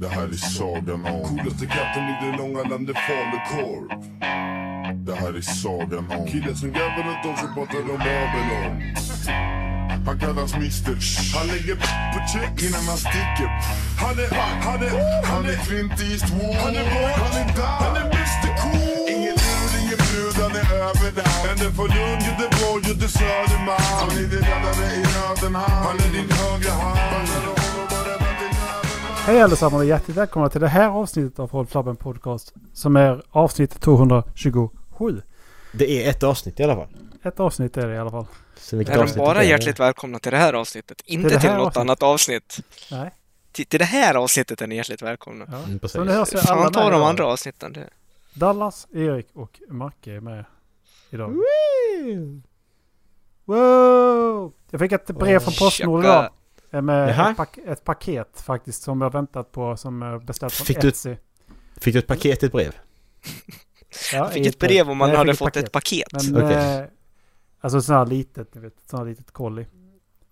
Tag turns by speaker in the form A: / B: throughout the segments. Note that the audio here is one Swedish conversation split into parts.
A: Det här är sagan om...
B: Coolaste katten i det långa landet falukorv.
A: Det här är sagan om...
B: Killen som gräver runt oss och pratar om Babylon.
A: Han kallas Mr. Shh.
B: Han lägger på check
A: Innan han sticker.
B: Han är, han är,
A: Han är Clint Eastwood.
B: Han är våt.
A: Han är där.
B: Han är Mr Cool.
A: Ingen lur, ingen brud. Han är överallt.
B: Ända från Lund, Göteborg och till
A: Han är
B: Södermalm.
A: din räddare i nöden.
B: Han är din högra hand.
C: Hej allesammans och hjärtligt välkomna till det här avsnittet av Håll Flabben Podcast. Som är avsnitt 227.
D: Det är ett avsnitt i alla fall.
C: Ett avsnitt är det i alla fall.
D: Så vilket
E: Är de
D: avsnitt det
E: bara
D: är-
E: hjärtligt välkomna till det här avsnittet? Inte
C: det
E: till,
C: här
E: något
C: avsnittet?
E: annat avsnitt.
C: Nej.
E: Till, till det här avsnittet är ni hjärtligt välkomna.
C: Ja.
D: Mm, precis.
C: Så nu hörs vi alla
E: Fan ta
C: med
E: de
C: idag.
E: andra avsnitten. Det.
C: Dallas, Erik och Macke är med idag. Wow! Jag fick ett brev från Postnord
E: Tjocka.
C: idag. eh, Med
D: Jaha.
C: ett, pak- ett paket faktiskt som jag väntat på som jag beställt från
D: Fick du-
C: Etsy.
D: Fick du ett paket i ett brev?
C: Ja,
E: Jag fick ett brev om man
C: Nej, jag
E: hade
C: fick
E: fått ett paket.
C: Men,
D: Okej.
C: eh, alltså sånt här litet, ni vet. Sånt här litet kolli.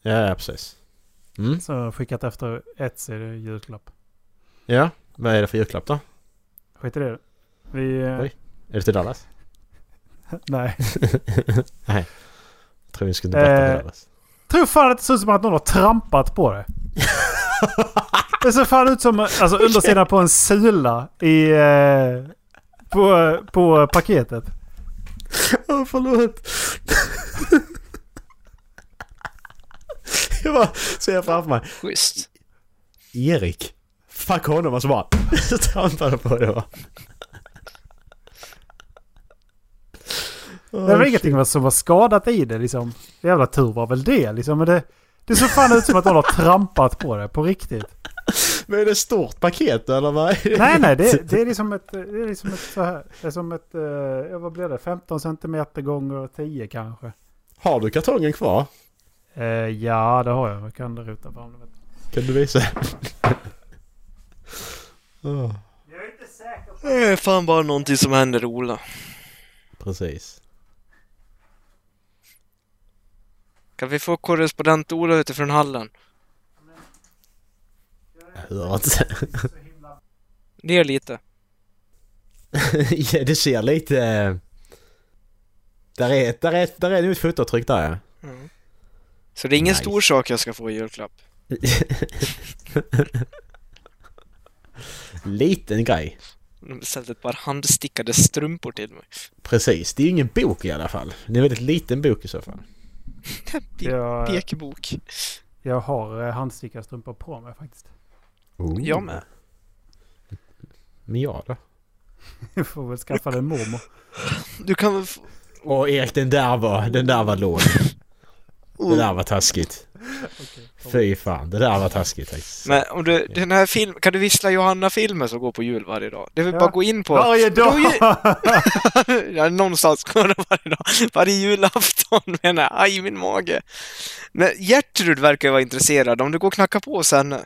D: Ja, ja, precis. Mm.
C: Som jag skickat efter Etsy det är julklapp.
D: Ja, vad är det för julklapp då?
C: Skit i det. Vi... eh,
D: Oj. Är det till Dallas?
C: Nej.
D: Jag tror vi skulle berätta
C: Eh.
D: för Dallas.
C: Tror fan att det ser ut som att någon har trampat på det. Det ser fan ut som alltså, undersidan på en sula i... eh, På, på paketet.
D: Åh, förlåt. jag bara ser framför mig.
E: Schysst.
D: Erik. Fuck honom och så bara trampade på det va.
C: Det var ingenting som var skadat i det liksom. Jävla tur var väl det liksom. Men det, det ser fan ut som att någon har trampat på det på riktigt.
D: Men är det ett stort paket eller vad? är det?
C: Nej, nej, det, det är liksom ett... Det är liksom ett så här. Det är som ett... eh, ja, vad blir det? 15 centimeter gånger 10 kanske.
D: Har du kartongen kvar?
C: Eh, ja, det har jag. Jag kan ruta fram det. vet du.
D: Kan du visa? Åh,
E: Det är fan bara någonting som händer Ola.
D: precis.
E: Kan vi få korrespondent Ola utifrån hallen?
D: Jag hör inte.
E: Ner lite.
D: ja, du ser lite... eh, Där är, där är, där är nog ett fotavtryck där ja.
E: Så det är ingen
D: Nice.
E: stor sak jag ska få i julklapp.
D: Liten grej.
E: De beställde ett par handstickade strumpor till mig.
D: Precis, det är ju ingen bok i alla fall. Det är en väldigt liten bok i så fall.
C: Jag,
E: Pekbok.
C: jag har eh, handstickade strumpor på mig faktiskt.
D: Oh.
E: Jag med.
D: Men jag då?
C: Jag får väl skaffa en mormor.
E: Du kan väl få...
D: Åh Erik, den där var, den där var låg. Det där var taskigt. Fy fan, det där var taskigt faktiskt.
E: Men om du, den här film, kan du vissla Johanna-filmen som går på jul varje dag? Det är väl
C: Ja.
E: bara att gå in på...
C: Varje dag!
E: ja, någonstans går det varje dag. Varje julafton menar jag. Aj, min mage. Men Gertrud verkar ju vara intresserad. Om du går och knackar på hos henne.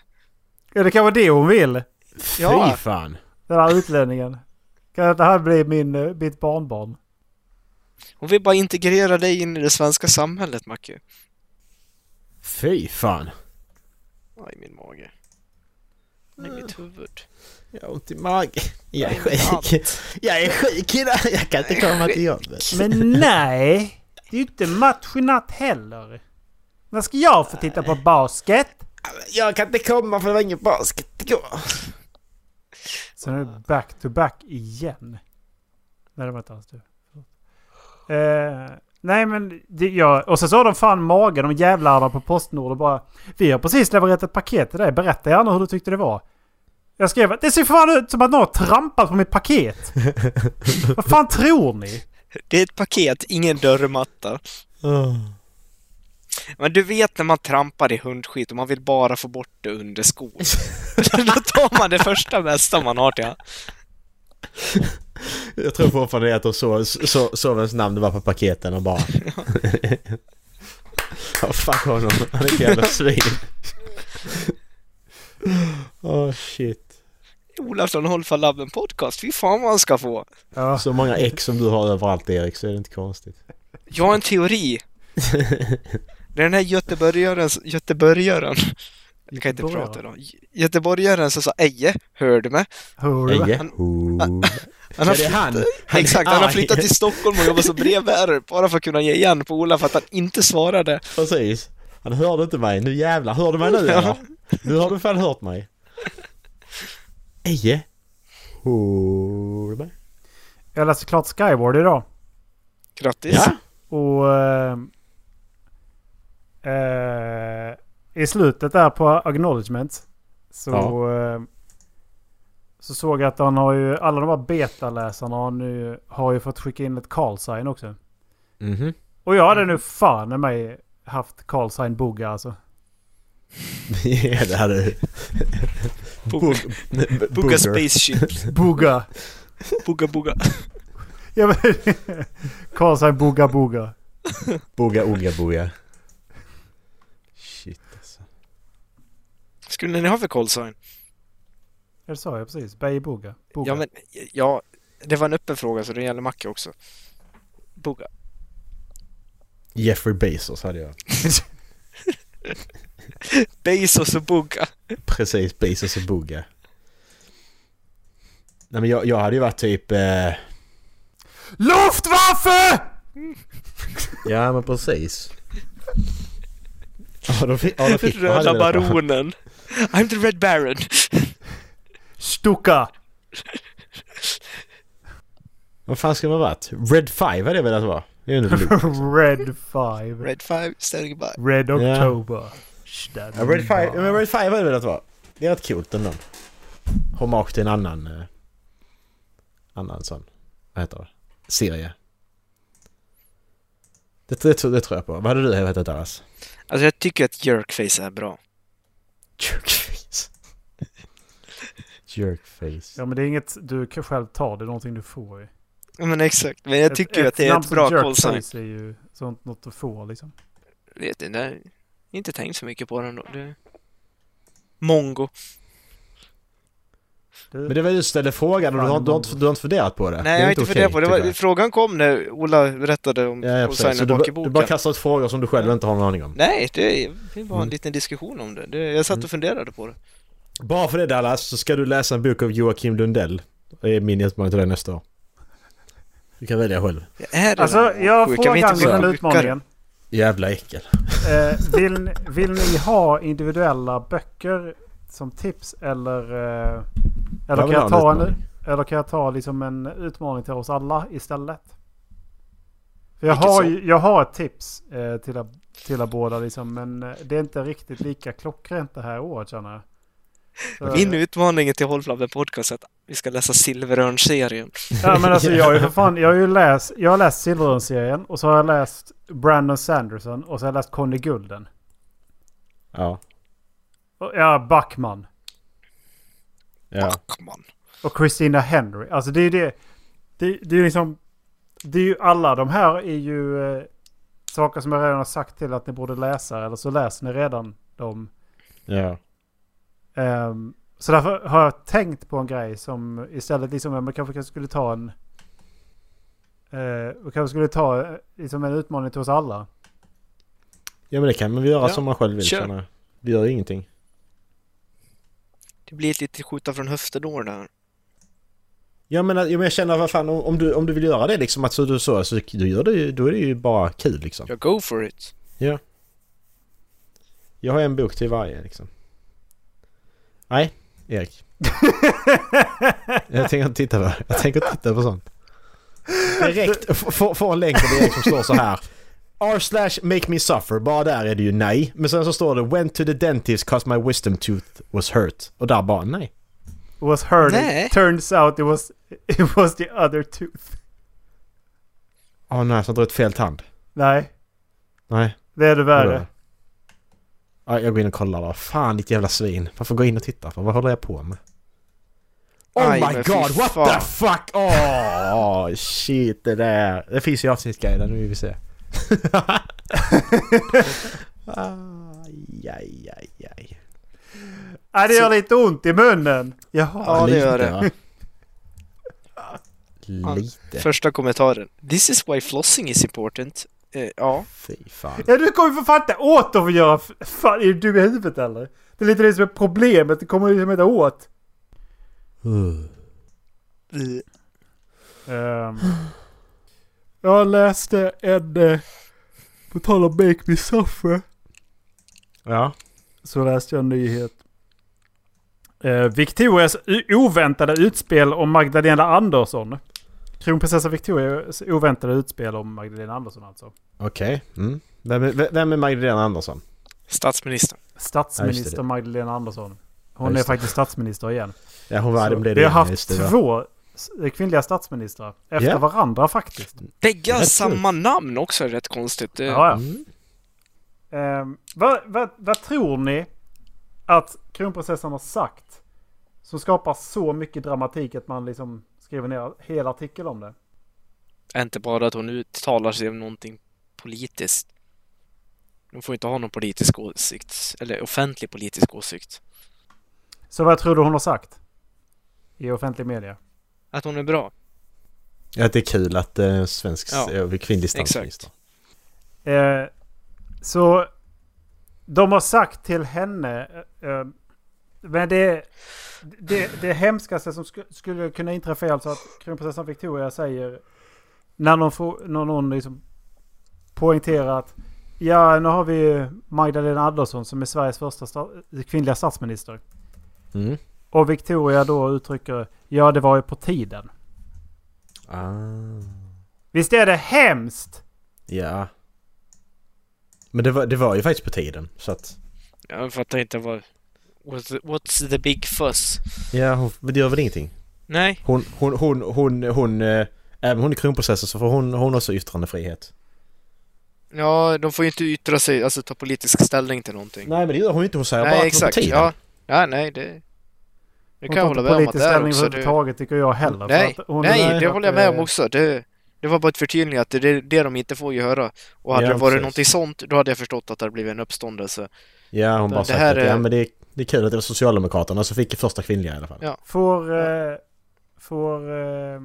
C: Ja, det kan vara det hon vill.
D: Fy
E: Ja.
D: fan.
C: Den här utlänningen. Kan inte han bli min, eh, mitt barnbarn?
E: Hon vill bara integrera dig in i det svenska samhället, Macke.
D: Fy fan.
E: Aj, min mage. Aj, mitt huvud.
D: Jag har ont i magen. Jag är sjuk. Jag är sjuk idag. Jag kan inte komma till jobbet.
C: Men nej! Det är ju inte match i natt heller. När ska jag få titta på basket?
D: Jag kan inte komma för det var ingen basket igår.
C: Sen är det back to back igen. Nej, det var inte alls du. Eh, nej, men det, ja. Och så sa de fan magen, de jävlarna på Postnord och bara Vi har precis levererat ett paket till dig. Berätta gärna hur du tyckte det var. Jag skrev att det ser fan ut som att någon har trampat på mitt paket. Vad fan tror ni?
E: Det är ett paket, ingen dörrmatta.
D: Ah.
E: Men du vet när man trampar i hundskit och man vill bara få bort det under skon. Då tar man det första bästa man har till hand.
D: Jag tror fortfarande att de såg så, så ens namn det var på paketen och bara... Ja, fuck honom. Han är ett jävla svin. Åh Ah, shit.
E: Olafsson Håll för labben podcast, fy fan vad han ska få.
C: Ja,
D: Så många ex som du har överallt Erik så är det inte konstigt.
E: Jag har en teori. Det är den här göteborgaren, göteborgaren Jag kan inte
C: Göteborgare.
E: prata idag. Göteborgaren som sa Eje, hör du mig?
C: Hör du?
D: Eje.
E: Han-
D: Ho.
E: Han har
D: Är det han? Han är
E: Exakt, han har
D: arg.
E: flyttat till Stockholm och jobbar som brevbärare bara för att kunna ge igen på Ola för att han inte svarade.
D: Precis. Han hörde inte mig. Nu jävlar. Hör du mig nu eller? Nu har du fan hört mig. Eje. Hör du mig?
C: Jag läste klart Skyward idag.
E: Grattis!
D: Ja.
C: Och... Eh, eh, I slutet där på acknowledgement så... Eh, så såg jag att han har ju... Alla de här betaläsarna har, nu, har ju fått skicka in ett call sign också.
D: Mhm.
C: Och jag
E: Mm.
C: hade nu fan i mig haft call sign bugga alltså.
D: Ja det hade du.
E: Bugga-
D: Bugger.
E: Bugga Spaceship,
C: Bugga!
E: Bugga Bugga.
C: Ja, men- call sign bugga bugga.
D: Bugga Ugga Bugga. Shit alltså.
E: Skulle ni ha för call sign?
C: Ja, Det sa jag precis. Bay bugga. bugga.
E: Ja, men ja, det var en öppen fråga så det gäller Macke också. Bugga.
D: Jeffrey Bezos hade jag.
E: Bezos och Bugga.
D: Precis, Bezos och Bugga. Nej men jag, jag hade ju varit typ... Eh...
C: Luftwaffe!
D: Ja men precis. Adolf, Adolf Hitler hade
E: Röda
D: det där.
E: Baronen. I'm the Red Baron.
C: Stucka!
D: Vad fan ska man ha varit? Red Five hade jag velat vara. Det är ju nu Luke.
C: Red five.
E: Red Five, standing by.
C: Red
D: Ja.
C: October.
D: Ja, Red Five, ja, men Red Five hade jag velat vara. Det är rätt coolt ändå. Hommage till en annan... Eh, annan sån... Vad heter det? Serie. Det, det, tror- det tror jag på. Vad hade du hetat annars?
E: Alltså jag tycker att Jerkface är bra.
D: Jerkface. Jerkface.
C: Ja men det är inget du kan själv ta, det är någonting du får ju.
E: Ja, Men exakt, men jag tycker att det är
C: namn
E: ett
C: som
E: bra
C: Jerk
E: call sign.
C: Face är ju sånt något du får liksom.
E: Vet inte, jag har inte tänkt så mycket på den då. Det... Mongo.
C: Du,
D: Men det var just den frågan och du har, du, har inte, du har inte funderat på det.
E: Nej, jag har inte funderat på det. det.
D: tycker
E: Var,
D: jag.
E: frågan kom när Ola berättade om
D: Ja, ja,
E: call
D: precis. Så
E: signen
D: du,
E: bak i
D: bara- du bara
E: boken.
D: kastar ut frågor som du själv inte har någon aning om.
E: Nej, det, det var en
D: Mm.
E: liten diskussion om det. det. Jag satt och funderade på det.
D: Bara för det Dallas så ska du läsa en bok av Joakim Lundell. Det är min utmaning till dig nästa år. Du kan välja själv.
E: Jag är redan
C: alltså
E: sjuk,
C: jag
E: kan
C: får
E: vi
C: jag
E: bli
C: den här
E: sjukare?
C: utmaningen.
D: Jävla äckel.
C: Eh, vill, ni- vill ni ha individuella böcker som tips eller... Eh, eller,
D: Jag
C: kan
D: vill
C: jag
D: ha
C: ta en,
D: utmaning.
C: eller kan jag ta liksom en utmaning till oss alla istället? För jag,
E: Vilket
C: har,
E: som.
C: ju- jag har ett tips eh, till, er- till er båda liksom, men eh, det är inte riktigt lika klockrent det här året känner jag. Så-
E: Min utmaning till Hållflabben Podcast är att vi ska läsa Silverörn-serien.
C: Ja men alltså jag har ju för fan, jag har ju läst, jag har läst Silverön-serien och så har jag läst Brandon Sanderson och så har jag läst Conny Gulden.
D: Ja.
C: Och, ja, Backman.
D: ja.
E: Come on.
C: Och Christina Henry. Alltså det är ju det, det, det är ju liksom, det är ju alla de här är ju eh, saker som jag redan har sagt till att ni borde läsa eller så läser ni redan dem.
D: ja.
C: Ehm, så därför har jag tänkt på en grej som istället liksom, ja, man kanske kanske skulle ta en... Eh, man kanske skulle ta eh, liksom en utmaning till oss alla.
D: Ja men det kan man väl göra
E: Ja,
D: som man själv vill
E: kör.
D: känner jag. Det gör ju ingenting.
E: Det blir ett litet skjuta från höften år där.
D: Ja men jag, men jag känner vad fan om, om, du, om du vill göra det liksom att så du så, så du gör det ju, då är det ju bara kul liksom.
E: Jag go for it.
D: Jag har en bok till varje liksom. Nej, Erik. jag tänker inte titta på Jag tänker inte titta på sånt. Direkt f- f- få en länk till Erik som står så här. R slash make me suffer. Bara där är det ju nej. Men sen så står det went to the dentist cause my wisdom tooth was hurt. Och där bara nej.
C: was hurting.
E: Nej.
C: Turns out it was, it was the other tooth.
D: Åh nej, så har jag dragit fel tand. Nej.
C: Nej,
D: Nej.
C: det är det
D: vadå?
C: värre.
D: Ja, jag går in och kollar då. Fan ditt jävla svin. Varför gå in och titta? För? Vad håller jag på med? Oh
E: Aj,
D: my
E: men fy
D: god, what
E: fan.
D: the fuck! Åh, shit det där. Det finns ju i avsnittsguiden, nu vill vi se. aj, aj, aj, aj.
C: Nej, det gör lite ont i munnen. Jaha.
E: Ja, det gör det.
D: va? Lite.
E: Första kommentaren. This is why flossing is important. Eh, ja.
D: Fy fan.
C: Ja, du kommer ju för fan inte återförgöra... Fan, är du dum i huvudet eller? Det är lite det som är problemet. Det kommer ju liksom inte åt.
D: Uh.
C: Ehm, jag läste en... eh, På tal om Make Me Suffer.
D: Ja.
C: Så läste jag en nyhet. Eh, Victorias u- oväntade utspel om Magdalena Andersson. Kronprinsessa Victorias oväntade utspel om Magdalena Andersson alltså.
D: Okej. Mm. Vem, är- v- vem är Magdalena Andersson?
E: Statsministern.
D: Ja, just
C: Statsminister
D: det.
C: Magdalena Andersson.
D: Ja,
C: Hon
D: just
C: är
D: det.
C: faktiskt statsminister igen.
D: Ja, hon var
C: Så
D: det
E: Alltså,
D: blev det.
C: Alltså, vi har
D: igen,
C: haft
D: just det, va?
C: två s- eh, kvinnliga statsministrar efter
D: Ja.
C: varandra faktiskt.
E: Bägge har
D: Rätt
E: samma namn också, är rätt konstigt. Det,
C: Ja, ja.
D: Mm.
C: Ehm, vad, vad, vad tror ni att kronprinsessan har sagt? Som skapar så mycket dramatik att man liksom skriver ner en hel artikel om det.
E: är inte bara att hon uttalar sig om någonting politiskt. Hon får inte ha någon politisk åsikt, eller offentlig politisk åsikt.
C: Så vad tror du hon har sagt? I offentlig media.
E: Att hon är bra.
D: Ja, det är kul att eh, svensk
E: Ja,
D: ja. kvinnlig statsminister.
C: Eh, så de har sagt till henne. eh, Eh, men det, det, det hemskaste som sku, skulle kunna inträffa är alltså att kronprinsessan Victoria säger. När någon, får, när någon liksom poängterar att. Ja, nu har vi ju Magdalena Andersson som är Sveriges första sta, kvinnliga statsminister.
D: Mm.
C: Och Victoria då uttrycker. Ja, det var ju på tiden.
D: Ah.
C: Visst är det hemskt?
D: Ja. Men det var, det var ju faktiskt på tiden. Så att...
E: Jag fattar inte vad... What's the, what's the big fuss?
D: Ja, hon, men det gör väl ingenting.
E: Nej,
D: Hon, hon, hon, hon, hon, eh, även hon är kronprinsessa så får hon, hon också yttrandefrihet.
E: ja, de får ju inte yttra sig, alltså ta politisk ställning till någonting.
D: Nej men det gör hon ju inte, hon säger bara att det var på tiden.
E: Ja, ja, nej, det... Det
C: Hon
E: kan
C: tar
E: jag hålla
C: inte
E: med om att
C: politisk
E: det är
C: ställning
E: också. Det,
C: överhuvudtaget tycker jag heller. för
E: Nej,
C: att hon
E: nej,
C: menar
E: det
C: att,
E: håller jag med om
C: eh,
E: också. Det, det var bara ett förtydligande att det är det de inte får ju höra. Och hade
D: Ja,
E: det varit
D: precis.
E: någonting sånt, då hade jag förstått att det hade blivit en uppståndelse.
D: Ja hon bara
E: Det
D: sagt
E: här
D: att
E: är-
D: ja, men det, är- det är kul att det var Socialdemokraterna som fick första kvinnliga i alla fall.
E: Ja.
C: Får... Eh, får... Eh,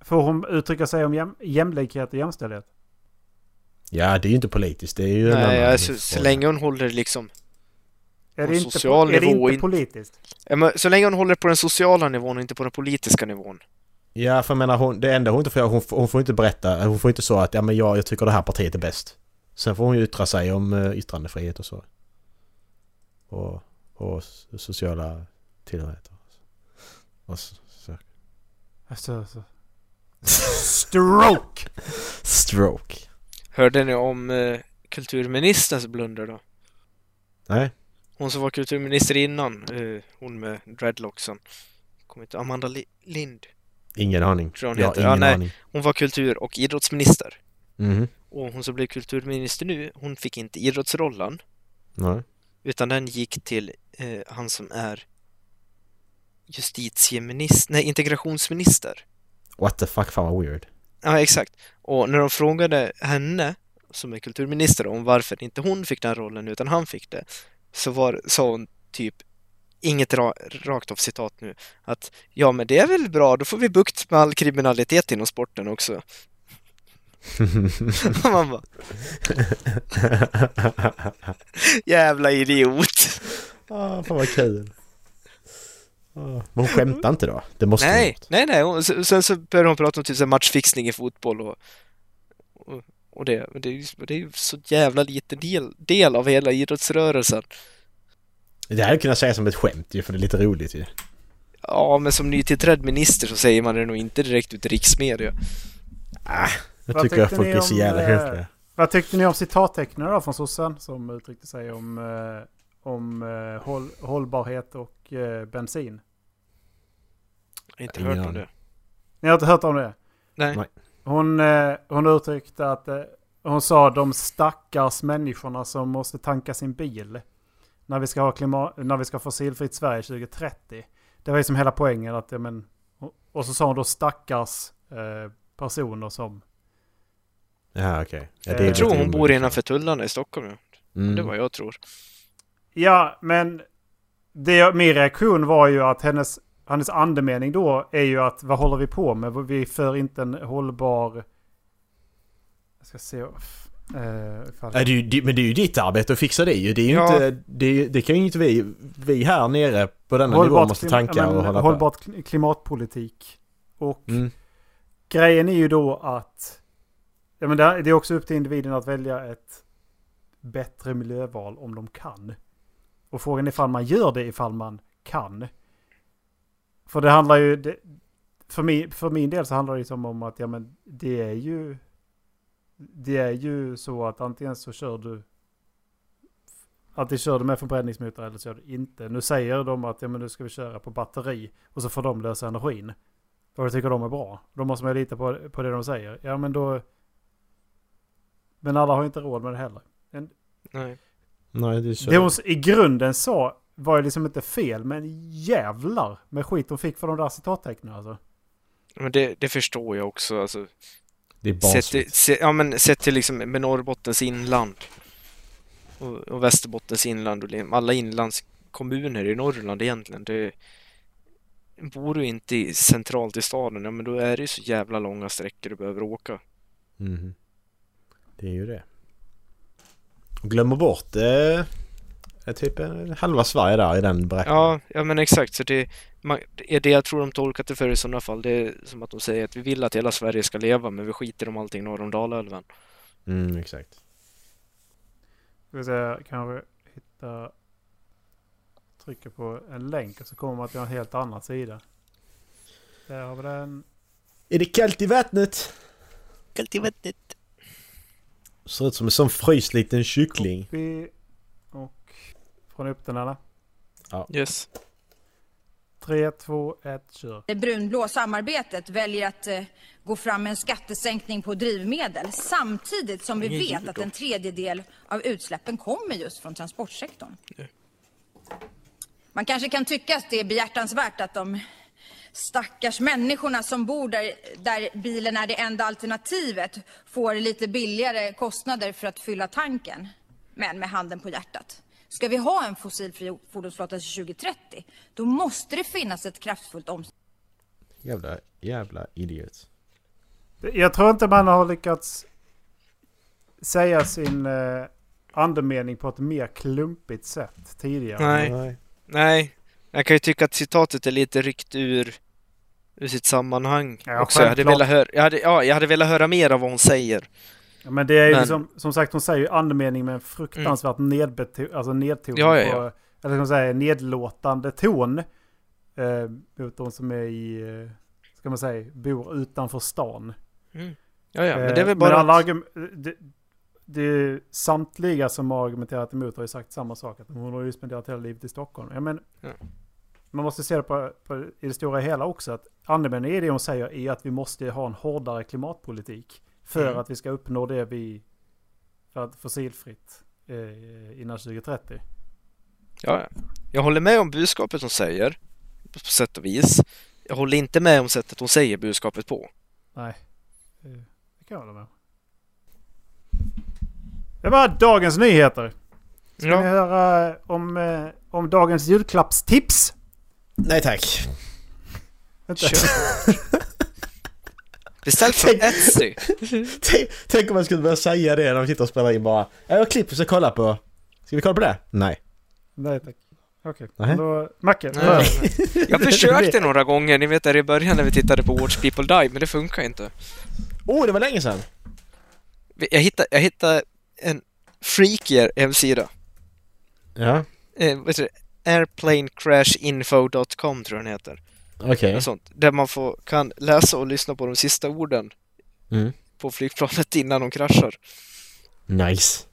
C: får hon uttrycka sig om jäm, jämlikhet och jämställdhet?
D: Ja, det är ju inte politiskt, det är ju en
E: Nej,
D: annan
E: alltså, så
D: fråga.
E: länge hon håller liksom...
C: Är
E: På
C: det, inte,
E: social
C: är det
E: nivå
C: inte
E: inte.
C: politiskt?
E: Ja, men Så länge hon håller på den sociala nivån och inte på den politiska nivån.
D: Ja för jag menar hon, det enda hon inte får göra, hon, får- hon får inte berätta, hon får inte så att ja men jag, jag tycker det här partiet är bäst. Sen får hon ju yttra sig om eh, yttrandefrihet och så. Och, och s- sociala tillhörigheter. Och så, så.
C: Alltså, alltså. Stroke!
D: Stroke.
E: Hörde ni om eh, kulturministerns blunder då?
D: Nej.
E: Hon som var kulturminister innan, eh, hon med dreadlocksen. Kommer inte- Amanda Li- Lind,
D: Ingen aning.
E: tror jag hon
D: Jag har
E: heter.
D: ingen
E: Ja, nej.
D: aning.
E: Hon var kultur och idrottsminister.
D: Mhm.
E: Och hon som blev kulturminister nu, hon fick inte idrottsrollen.
D: Nej.
E: Utan den gick till eh, han som är justitieminister, nej integrationsminister.
D: What the fuck, fan vad weird.
E: Ja, exakt. Och när de frågade henne, som är kulturminister, om varför inte hon fick den rollen utan han fick det, så var, sa hon typ inget ra, rakt av citat nu, att ja men det är väl bra, då får vi bukt med all kriminalitet inom sporten också. Man bara, jävla idiot.
D: ah, fan vad kul. Ah, Men hon skämtar inte då? Det måste hon
E: Nej,
D: gjort.
E: nej, nej. Och sen- sen så började hon prata om typ så här matchfixning i fotboll och, och, och det. Men det är ju det är ju så jävla liten del, del av hela idrottsrörelsen.
D: Det här kunde jag säga som ett skämt ju, för det är lite roligt ju.
E: Ja, men som nytillträdd minister så säger man det nog inte direkt ut i riksmedia.
D: Jag
C: Ah, Vad
D: tycker att
C: tyckte
D: folk
C: ni
D: är så
C: om,
D: jävla
C: eh,
D: hemska.
C: Vad tyckte ni om citattecknen då från sossen som uttryckte sig om, eh, om eh, håll, hållbarhet och eh, bensin?
E: Jag har inte
D: Ingen
E: hört om
D: aning.
E: det.
C: Ni har inte hört om det?
E: Nej.
D: Nej.
C: Hon, eh, hon uttryckte att eh, hon sa de stackars människorna som måste tanka sin bil när vi ska ha, klimat, när vi ska ha fossilfritt Sverige 2030. Det var ju som hela poängen att, ja, men, och- och så sa hon då stackars eh, personer som...
D: Ja, okej. Ja,
C: eh,
D: det är
E: Jag tror
D: lite
E: hon bor
D: omöjligt.
E: innanför tullarna i Stockholm. Ja.
D: Mm.
E: Det var jag tror.
C: Ja, men det, jag- min reaktion var ju att hennes, hennes andemening då är ju att vad håller vi på med? Vi för inte en hållbar... Jag ska se... Eh, fall.
D: Nej, det är ju, det, men det är ju ditt arbete att fixa det ju. Det, är ju
E: Ja.
D: inte, det, är ju- det kan ju inte vi, vi här nere på denna nivå måste
C: klim-
D: tanka
C: ja, men
D: och hålla på.
C: hållbart kli- klimatpolitik. Och
D: Mm.
C: grejen är ju då att ja, men det här- det är också upp till individen att välja ett bättre miljöval om de kan. Och frågan är ifall man gör det ifall man kan. För det handlar ju, det, för, min, för min del så handlar det liksom om att ja, men det är ju det är ju så att antingen så kör du Antingen kör du med förbränningsmotor eller så gör du inte. Nu säger de att ja, men nu ska vi köra på batteri och så får de lösa energin. Och det tycker de är bra. Då måste man ju lita på, på det de säger. Ja men då... Men alla har ju inte råd med det heller.
E: Nej.
D: Nej, det är så.
C: Det hon s- i grunden sa var ju liksom inte fel men jävlar med skit hon fick för de där citattecknen alltså.
E: Men det, det förstår jag också. Alltså,
D: Det är
E: sett, till,
D: barnsligt.
E: se, ja, men sett till liksom med Norrbottens inland och, och Västerbottens inland och liksom alla inlandskommuner i Norrland egentligen. Det, bor du inte i, centralt i staden, ja, men då är det ju så jävla långa sträckor du behöver åka.
D: Mhm. Det är ju det. Och glömmer bort eh, eh, typ eh, halva Sverige där i den beräkningen.
E: Ja, ja men exakt. Så det, man, det är det jag tror de tolkat det för i sådana fall. Det är som att de säger att vi vill att hela Sverige ska leva, men vi skiter om allting norr om Dalälven.
D: Mm, exakt.
C: Ska vi se, kanske hitta... Trycker på en länk och så kommer man till en helt annan sida. Där har vi den.
D: Är det kallt i vattnet?
E: Kallt i vattnet.
D: Ser ut som en sån fryst liten kyckling.
C: Copy. Och... Från upp den eller?
E: Yes.
C: 3, 2, 1, kör.
F: Det brunblå samarbetet väljer att eh, gå fram med en skattesänkning på drivmedel samtidigt som vi
E: Ingen
F: vet
E: jul
F: att
E: då.
F: en tredjedel av utsläppen kommer just från transportsektorn. Man kanske kan tycka att det är behjärtansvärt att de stackars människorna som bor där, där bilen är det enda alternativet får lite billigare kostnader för att fylla tanken. Men med handen på hjärtat. Ska vi ha en fossilfri fordonsflotta till 2030, då måste det finnas ett kraftfullt omställningsprogram
D: Jävla, jävla idiot.
C: Jag tror inte man har lyckats säga sin eh, andemening på ett mer klumpigt sätt tidigare.
E: Nej. Nej, jag kan ju tycka att citatet är lite ryckt ur, ur sitt sammanhang
C: Ja,
E: också. Jag hade,
C: självklart.
E: velat höra, jag, hade, ja, jag hade velat höra mer av vad hon säger.
C: Ja, Men det är ju
E: Men- Mm.
C: liksom, som sagt hon säger ju andemening med en fruktansvärt nedbeto- alltså nedton.
E: Ja, ja, ja.
C: På, eller ska man säga nedlåtande ton. Eh, mot de som är i, eh, ska man säga, bor utanför stan.
E: Mm. Ja, ja, men
C: Eh,
E: det är väl bara...
C: alla argum- det, det är ju samtliga som har argumenterat emot har ju sagt samma sak. Att hon har ju spenderat hela livet i Stockholm. Ja, men,
E: Ja.
C: Man måste se det på, på, i det stora hela också. att Andemeningen i det hon säger är ju att vi måste ha en hårdare klimatpolitik. För
E: Mm.
C: att vi ska uppnå det vi... För att fossilfritt eh, innan 2030.
E: ja, ja. Jag håller med om budskapet hon säger, på sätt och vis. Jag håller inte med om sättet hon säger budskapet på.
C: Nej. Eh, Det kan jag hålla med om. Det var dagens nyheter. Ska
E: Ja.
C: ni höra om, eh, om dagens julklappstips?
D: Nej tack.
C: Vänta.
E: Beställ från Etsy!
D: Tänk, tänk om man skulle börja säga det när de sitter och spelar in bara. "Ja, Jag klipper så kolla på. Ska vi kolla på det? Nej.
C: Nej tack. Okej,
D: Nej.
C: då... Macke,
E: Nej,
C: börja.
E: nej, nej. Jag försökte några gånger, ni vet där i början när vi tittade på Watch People Die, men det funkar inte.
D: Åh, oh, det var länge sedan.
E: Jag hittade, jag hittade en freakier hemsida.
D: Ja,
E: eh, vad heter det? airplanecrashinfo.com tror jag den heter.
D: okej.
E: Något sånt. Där man får, kan läsa och lyssna på de sista orden
D: Mm.
E: på flygplanet innan de kraschar.
D: Nice.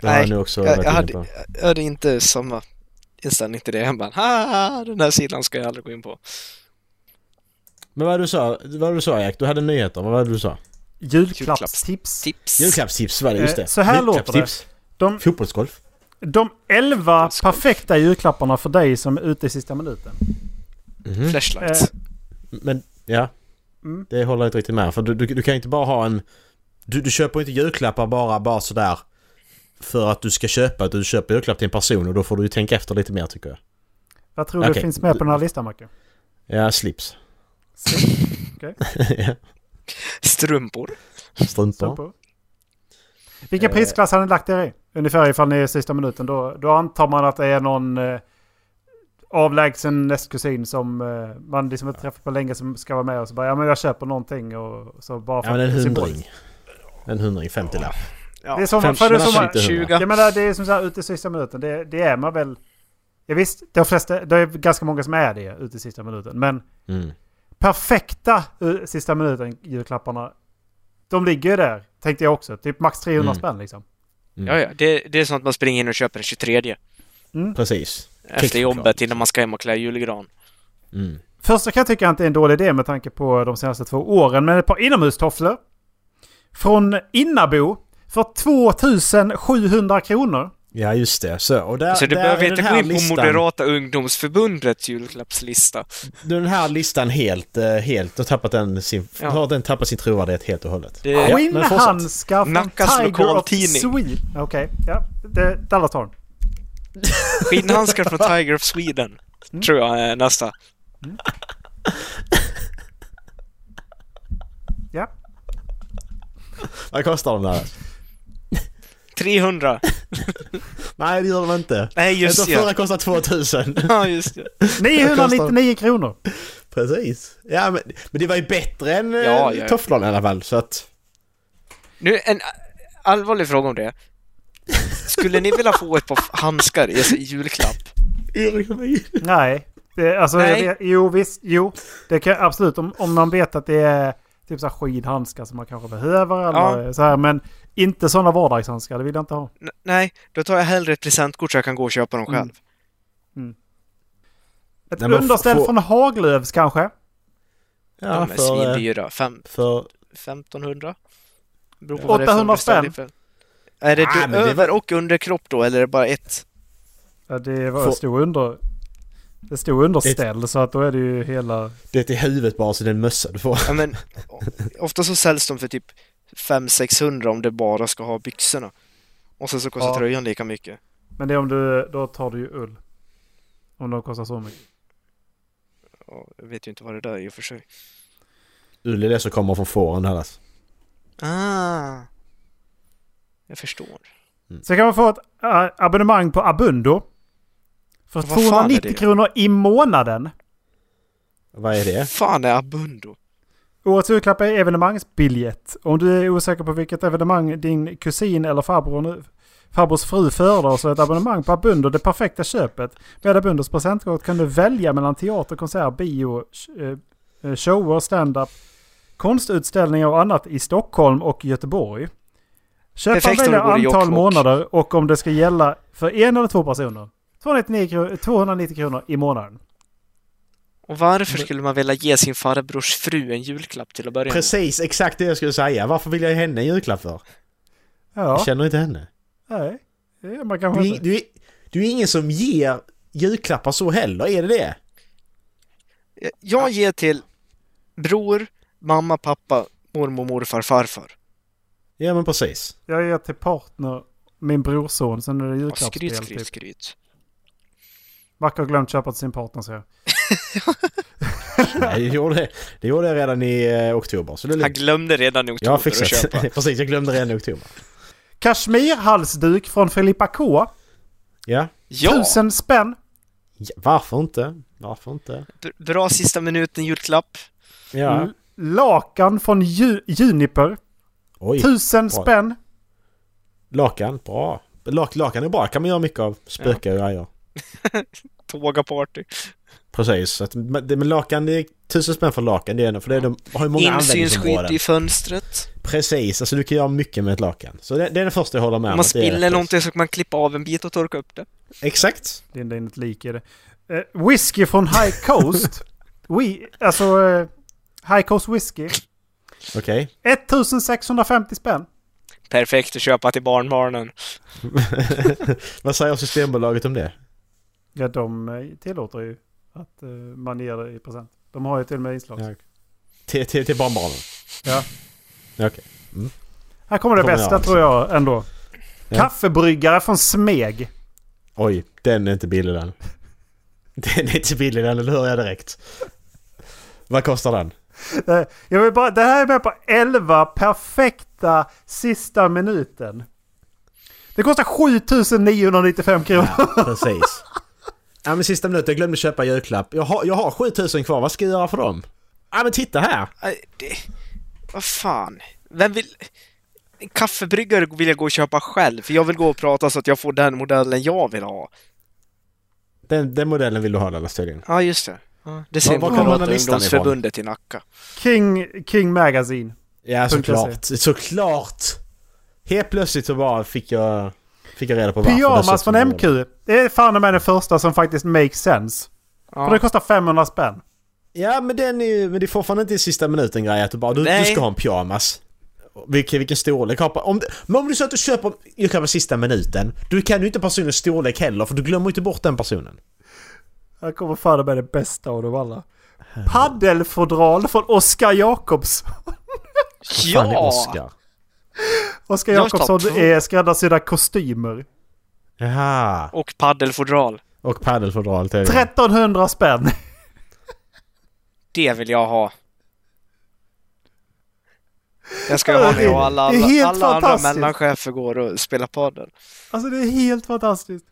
D: Det har
E: Nej,
D: jag nu också
E: Jag,
D: varit
E: jag,
D: inne
E: hade,
D: på.
E: jag hade inte samma inställning till det. Jag bara "Haha, den här sidan ska jag aldrig gå in på.
D: Men vad du sa, vad du sa Jack, du hade nyheter, vad var det du sa?
C: Julklappstips.
E: Tips!
D: Julklappstips var det, just
C: Eh,
D: det.
C: så här låter
D: Julklappstips.
C: De,
D: Fotbollsgolf.
C: de 11 perfekta julklapparna för dig som är ute i sista minuten.
D: Mhm.
E: Mm. Flashlights.
C: Eh.
D: Men, ja.
C: Mm.
D: Det håller jag inte riktigt med för du, du, du kan inte bara ha en... Du, du köper inte julklappar bara, bara sådär för att du ska köpa, utan du köper julklapp till en person och då får du ju tänka efter lite mer tycker jag.
C: Vad tror du
D: Okej.
C: finns med på den här listan Macke?
D: Ja, slips.
C: Okej,
D: Ja,
E: Strumpor.
D: Strumpor.
C: strumpor. Vilken
D: Eh.
C: prisklass hade ni lagt er i? Ungefär ifall ni är sista minuten. Då, då antar man att det är någon eh, avlägsen nästkusin som eh, man liksom inte träffat på länge som ska vara med och så bara ja men jag köper någonting och så bara
D: Ja men en
C: symboliskt.
D: hundring. En hundring, 50 lapp.
E: Ja.
C: Det är som,
D: Fem-
C: för det är
D: mellan
C: som,
D: fem till hundra.
E: Tjugo.
C: jag menar, det är som så här ute i sista minuten. Det, det är man väl. Ja, visst, de flesta, det är ganska många som är det ute i sista minuten. Men
D: Mm.
C: perfekta eh, sista minuten julklapparna. De ligger ju där, tänkte jag också. Typ max 300
D: Mm.
C: spänn liksom.
E: Ja, ja. Det, det är sånt man springer in och köper den 23
D: Mm. Precis.
E: efter
D: Kexchoklad.
E: jobbet innan man ska hem och klä julgran.
D: Mm.
C: Första kan jag tycka inte är en dålig idé med tanke på de senaste två åren. Men ett par inomhustofflor. Från Innabo. För 2700 kronor.
D: Ja just det. Så, och där,
E: Så du
D: där
E: behöver
D: är
E: inte
D: den
E: gå
D: här
E: in på
D: listan,
E: Moderata ungdomsförbundets julklappslista.
D: Nu är den här listan helt, eh, helt och tappat den sin,
E: Ja.
D: har den tappat sin trovärdighet helt och hållet.
E: Det,
D: Ja, men fortsätt.
C: Skinnhandskar från
E: Nackas
C: Tiger of
E: lokaltidning.
C: Sweden. Okej, ja. Det, Dallas tar den.
E: Skinnhandskar från Tiger of Sweden,
D: Mm.
E: tror jag är nästa.
C: Ja.
D: Vad kostar de där?
E: 300.
D: Nej det gör de inte.
E: Nej, just
D: Just förra
E: det.
D: kostar 2000.
E: Ja, just det.
C: 999 kronor.
D: Precis. Ja men, men det var ju bättre än eh,
E: Ja, ja.
D: tofflorna i alla fall så att...
E: Nu, en allvarlig fråga om det. Skulle ni vilja få ett par handskar i i julklapp?
C: Nej. Det, alltså,
E: Nej.
C: Jag vet, jo visst, jo. Det kan absolut om, om man vet att det är typ så här skidhandskar som man kanske behöver eller så här. Men inte sådana vardagshandskar, det vill jag inte ha.
E: N- nej, då tar jag hellre ett presentkort så jag kan gå och köpa dem själv.
D: Mm.
C: Ett
D: Nej, men
C: underställ
D: få-
C: från Haglöfs kanske?
D: Ja,
E: De är
D: för, eh,
E: svindyra. Fem,
D: för
E: 1500? Beror på vad det är för
C: 800 spänn.
E: beställning. Är det
D: Ah,
E: du
D: men det var-
E: över och underkropp då, eller är det bara ett?
C: Ja, det var
D: Få-
C: stod under... Det stod underställ så att då är det ju hela...
D: det är till huvudet bara så det är en mössa du får.
E: Ja, men, o- ofta så säljs de för typ 500-600 om det bara ska ha byxorna. Och sen så kostar
C: Ja.
E: tröjan lika mycket.
C: Men det är om du... Då tar du ju ull. Om de kostar så mycket.
E: Ja, jag vet ju inte vad det där är i och för sig.
D: Ull är det som kommer från fåren Dallas.
E: Ah! Jag förstår. Mm.
C: Så kan man få ett äh, abonnemang på Abundo. För
E: Vad fan är
C: 290
E: det?
C: kronor i månaden.
D: Vad är det?
E: Fan är Abundo?
C: Årets julklapp är evenemangsbiljett. Om du är osäker på vilket evenemang din kusin eller farbror nu, farbrors fru föredrar så är ett abonnemang på Abundo det perfekta köpet. Med Abundos presentkort kan du välja mellan teater, konsert, bio, sh- eh, shower, stand-up, konstutställningar och annat i Stockholm och Göteborg. Köparen
E: Perfekt om
C: väljer
E: det går i
C: antal
E: Jokkmokk.
C: månader och om det ska gälla för en eller två personer. 299 kronor, 290 kronor i månaden.
E: Och varför skulle man vilja ge sin farbrors fru en julklapp till att börja med?
D: Precis, exakt det jag skulle säga. Varför vill jag ge henne en julklapp för?
C: Ja,
D: Jag känner inte henne.
C: nej. Det är man kanske
D: Du,
C: inte.
D: är- du, är- du är ingen som ger julklappar så heller, är det det?
E: Jag- Jag ger till bror, mamma, pappa, mormor, morfar, farfar.
D: Ja men precis.
C: Jag ger till partner min brorson, sen är det
E: Ja,
C: julklappsspel.
E: skryt, skryt,
C: Typ.
E: skryt.
C: Macke har glömt köpa till sin partner så jag.
D: Nej, det, gjorde, jag- det gjorde jag redan i eh, oktober. Så det är
E: Han
D: lugnt.
E: glömde redan i oktober
D: Jag har
E: att
D: fixat.
E: köpa.
D: precis, jag glömde redan i oktober.
C: Kashmirhalsduk från Filippa K.
D: Ja.
E: Ja,
C: Tusen spänn.
D: ja. Varför inte? Varför inte?
E: b- bra sista minuten julklapp.
D: Ja.
E: Mm.
C: L- Lakan från ju- Juniper.
D: Oj.
C: Tusen
D: Bra.
C: spänn.
D: Lakan, bra. Lak, lakan är bra, kan man göra mycket av. Spöka och grejer.
E: Tågaparty.
D: Precis, så att, men det med lakan, det är tusen spänn för lakan, det är, för det är, de har ju många
E: Insynsskydd
D: användningsområden.
E: i fönstret.
D: Precis, alltså du kan göra mycket med ett lakan. Så det, det är det första jag håller med
E: Om
D: om.
E: man
D: att det är
E: spiller
D: rättvist.
E: någonting så kan man klippa av en bit och torka upp det.
D: Exakt.
C: Linda in ett lik i det. Eh, whisky från High Coast. We, alltså eh, High Coast Whisky.
D: Okej.
C: 1650 spänn.
E: Perfekt att köpa till barnbarnen.
D: Vad säger Systembolaget om det?
C: Ja, de eh, tillåter ju att eh, man ger det i present. De har ju till och med inslag.
D: Ja. Till, till, till barnbarnen?
C: Ja.
D: Okej.
C: Här kommer det
D: Kommer jag
C: bästa
D: alltså.
C: tror jag ändå.
D: Ja.
C: Kaffebryggare från Smeg.
D: Oj, den är inte billig den. Den är inte billig den, det hör jag direkt. Vad kostar den?
C: Eh, Jag vill bara, det här är med på 11 perfekta sista minuten. Det kostar 7995 kronor.
D: Ja, precis. Ja men sista minuten, jag glömde köpa julklapp. Jag har, jag har 7000 kvar, vad ska jag göra för dem? Ja men titta här!
E: Nej, det... Vad fan? Vem vill... En kaffebryggare vill jag gå och köpa själv, för jag vill gå och prata så att jag får den modellen jag vill ha.
D: Den, den modellen vill du ha Dallas tydligen.
E: Ja, just det. Ja, Det ser
D: var kommer den
E: Moderata
D: här listan ifrån?
E: ungdomsförbundet i Nacka.
C: King, King Magazine.
D: Ja
C: Punkt
D: såklart, såklart! Helt plötsligt så bara fick jag, fick jag reda på varför.
C: Pyjamas
D: dessutom.
C: från MQ. Det är fan med den första som faktiskt makes sense. För det
E: Ja.
C: kostar 500 spänn.
D: Ja men den är ju, men det är fortfarande inte i sista minuten grej att du bara, du, du
E: Nej.
D: ska ha en pyjamas. Vilken, vilken storlek har om, det- men om du så att du köper julklappar sista minuten, du kan ju inte personens storlek heller för du glömmer ju inte bort den personen.
C: Här kommer fan med det bästa av dem alla. Paddelfodral från Oskar Jakobsson.
D: Fan det är
E: Ja!
D: Oscar.
C: Oskar
E: Jag tar
C: Jakobsson
E: två.
C: är skräddarsydda kostymer.
D: Jaha.
E: Och paddelfodral.
D: Och paddelfodralet är
C: 1300 spänn.
E: Det vill jag ha. Jag ska ha det och alla,
C: Det är
E: alla,
C: helt
E: alla andra
C: fantastiskt.
E: mellanchefer går och spelar padel.
C: Alltså det är helt fantastiskt.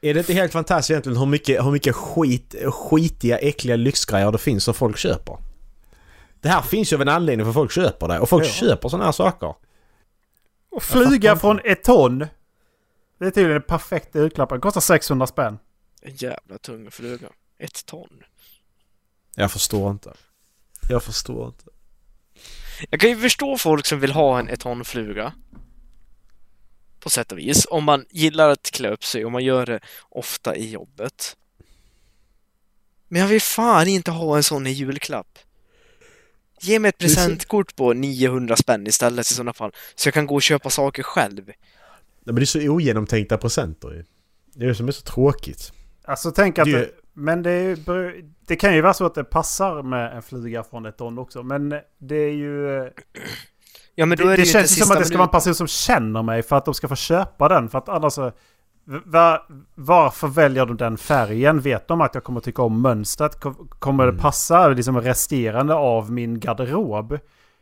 D: Är det inte helt fantastiskt egentligen hur mycket, hur mycket skit, skitiga, äckliga lyxgrejer det finns som folk köper? Det här finns ju av en anledning för folk köper det och folk
C: Ja.
D: köper sådana här saker.
C: Och flyga från ett ton. Det är tydligen den perfekta julklappen. Kostar 600 spänn.
E: En jävla tung fluga. Ett ton.
D: Jag förstår inte. Jag förstår inte.
E: Jag kan ju förstå folk som vill ha en etonfluga. På sätt och vis. Om man gillar att klä upp sig och man gör det ofta i jobbet. Men jag vill fan inte ha en sån i julklapp. Ge mig ett
D: Det är så-
E: presentkort på 900 spänn istället i sådana fall. Så jag kan gå och köpa saker själv.
D: Nej, men det är så ogenomtänkta presenter ju. Det är det som är så tråkigt.
C: Alltså tänk att...
D: Det är
C: Det,
D: ju-
C: men det, är, ju br- det kan ju vara så att det passar med en flyga från ett ton också. Men det är ju...
E: Ja men då
C: det,
E: är det,
C: det
E: ju
C: känns ju
E: inte
C: som
E: sista
C: att det ska vara en
E: minuten.
C: person som känner mig för att de ska få köpa den. För att annars så... v- va- varför väljer de den färgen? Vet de att jag kommer tycka om mönstret? Kom- Kommer
E: Mm.
C: det passa liksom resterande av min garderob?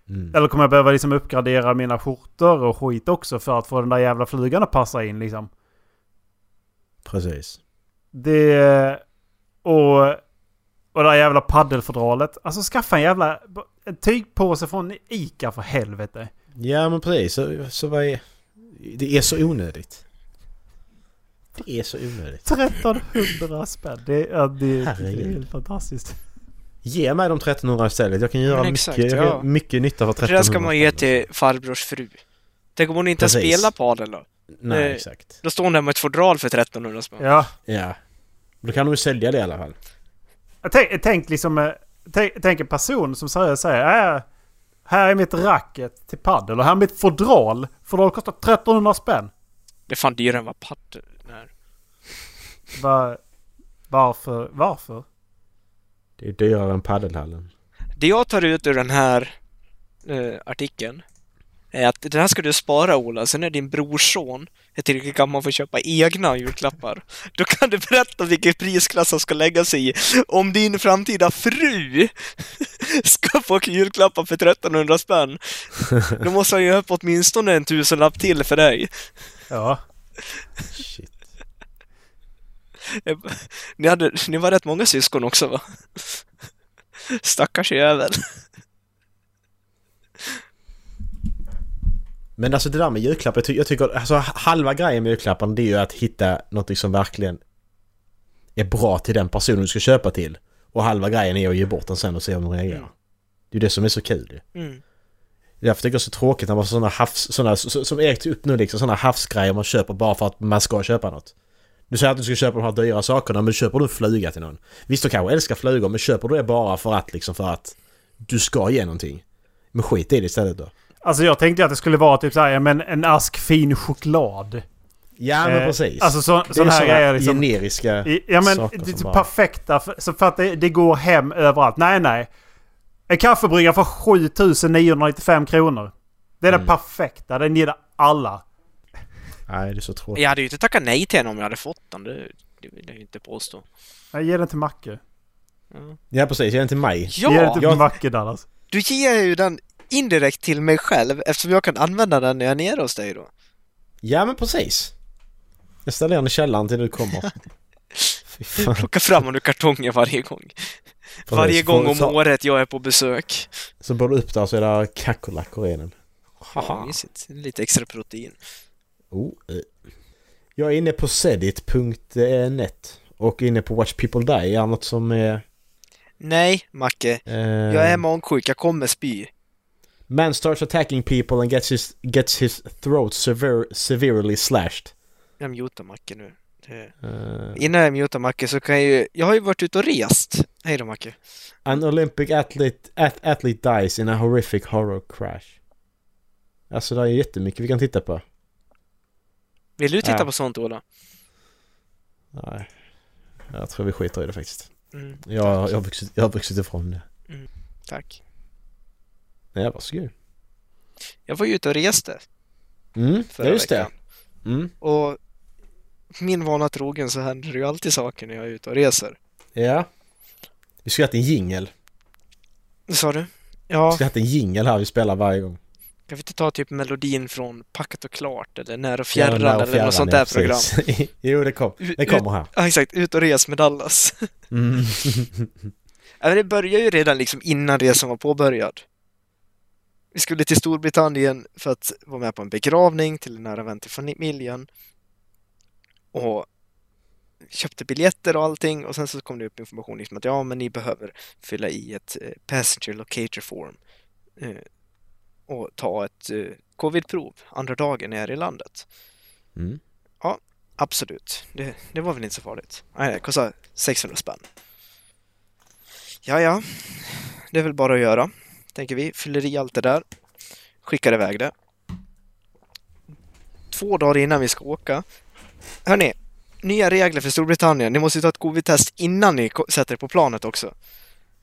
E: Mm.
C: Eller kommer jag behöva liksom uppgradera mina skjortor och skit också för att få den där jävla flugan att passa in liksom?
D: Precis.
C: Det... Och... Och det där jävla paddelfodralet. Alltså skaffa en jävla... En tygpåse från Ica för helvete.
D: Ja men precis, så, så vad är... Det är så onödigt. Det är så onödigt.
C: 1300 spänn. Det, är- det, det är
D: Herregud.
C: helt fantastiskt.
D: Ge mig de 1300 istället. Jag kan göra
E: men
D: mycket,
E: exakt,
D: jag kan
E: ja.
D: göra mycket nytta för
E: Det
D: 1300.
E: där ska man ge till farbrors fru. Tänk om hon inte
D: Precis.
E: spelar padel då?
D: Nej
E: eh,
D: exakt.
E: Då står hon där med ett fodral för 1300 spänn.
C: Ja.
D: Ja. Då kan de ju sälja det i alla fall.
C: Tänk, tänk liksom... eh, Tänk, tänk en person som seriöst säger äh, Här är mitt racket till paddel och här är mitt fodral. Fodral kostar 1300 spänn.
E: Det är fan dyrare än vad padel är.
C: Va, varför? Varför?
D: Det är dyrare än paddelhallen.
E: Det jag tar ut ur den här eh, artikeln är att den här ska du spara Ola, sen när din brorson är tillräckligt gammal för att köpa egna julklappar. Då kan du berätta vilken prisklass han ska lägga sig i om din framtida fru ska få julklappar för 1300 spänn. Då måste han ju upp åtminstone en tusenlapp till för dig.
C: Ja.
D: Shit.
E: Eh, Ni, hade, ni var rätt många syskon också va? Stackars jävel.
D: Men alltså det där med julklappar, jag ty- jag tycker alltså halva grejen med julklapparna det är ju att hitta något som verkligen är bra till den personen du ska köpa till. Och halva grejen är att ge bort den sen och se om de reagerar.
E: Mm.
D: Det är ju det som är så kul ju.
E: Mm.
D: Det är Därför tycker jag det är så tråkigt när man får sådana havs... Såna, så- så- som Erik tog upp nu liksom, sådana havsgrejer man köper bara för att man ska köpa något. Du säger att du ska köpa de här dyra sakerna men köper du en fluga till någon? Visst du kanske älskar flugor men köper du det bara för att liksom för att du ska ge någonting? Men skit i det istället då.
C: Alltså jag tänkte ju att det skulle vara typ så här, ja, men en ask fin choklad.
D: Ja men
C: Eh,
D: precis.
C: Alltså så,
D: Det är
C: sån här
D: såna
C: grejer liksom.
D: generiska
C: I- Ja men
D: saker
C: det, typ
D: som bara...
C: perfekta, för, så för att det, det går hem överallt. Nej nej. En kaffebryggare för 7995 kronor. Det är
D: Mm.
C: den perfekta, den gillar alla.
D: Nej, det är så tråkigt.
E: Jag hade ju inte tackat nej till henne om jag hade fått den. Det, det vill jag ju inte påstå.
C: Jag ger den till Macke.
D: Ja, precis. Ge den till mig.
C: Ja, ger den
E: Ja!
C: till
D: jag-
C: Macke Dallas.
E: Du ger ju den indirekt till mig själv eftersom jag kan använda den när jag är nere hos dig då.
D: Ja men precis. Jag ställer den i källaren till du kommer. Fy fan.
E: Plocka fram honom ur kartongen varje gång. Varje
D: Precis.
E: gång om
D: Så-
E: året jag är på besök.
D: Så bor du upp där så är det kackerlackor i den.
E: Ja, mysigt. Lite extra protein.
D: Oh, eh. Jag är inne på sedit.net och inne på Watch People Die. Är det något som är...
E: Nej, Macke.
D: Eh,
E: Jag är magsjuk, jag kommer spy.
D: Man starts attacking people and gets his, gets his throat sever, severely slashed.
E: Jag mutar Macke nu. Det-
D: Eh,
E: Innan jag mutar Macke så kan jag ju... Jag har ju varit ute och rest. Hej då Macke.
D: an Olympic athlete, at, athlete dies in a horrific horror crash. Alltså det är jättemycket vi kan titta på.
E: Vill du titta
D: Ja.
E: på sånt, Ola?
D: Nej. Jag tror vi skiter i det faktiskt.
E: Mm,
D: Jag, jag, har, vuxit, jag har vuxit ifrån det.
E: tack.
D: Nej, varsågod.
E: Jag var ju ute och reste
D: Mm,
E: förra
D: ja just det.
E: veckan.
D: Mm.
E: Och min vana trogen så händer det ju alltid saker när jag är ute och reser.
D: Ja. Vi skulle haft en jingel.
E: Sa du?
D: Vi
E: Ja,
D: skulle haft en jingel här vi spelar varje gång.
E: kan vi inte ta typ melodin från Packat och klart eller När och
D: Fjärran
E: fjärran,
D: där och
E: eller
D: fjärran,
E: något sånt
D: ja,
E: där program?
D: precis. jo, det, kom.
E: Ut-
D: det kommer här.
E: Ja, exakt. Ut och res med Dallas.
D: Mm.
E: Ja, men det börjar ju redan liksom innan resan var påbörjad. Vi skulle till Storbritannien för att vara med på en begravning till en nära vän till familjen. Och köpte biljetter och allting och sen så kom det upp information liksom att ja, men ni behöver fylla i ett eh, passenger locator form eh, och ta ett eh, covidprov andra dagen när jag är i landet.
D: Mm.
E: Absolut, det, det var väl inte så farligt. Nej, det kostar 600 spänn. Ja, ja, det är väl bara att göra, tänker vi. Fyller i allt det där, skickar iväg det. Två dagar innan vi ska åka. Hörni, nya regler för Storbritannien. Ni måste ju ta ett covid-test innan ni ko- sätter er på planet också.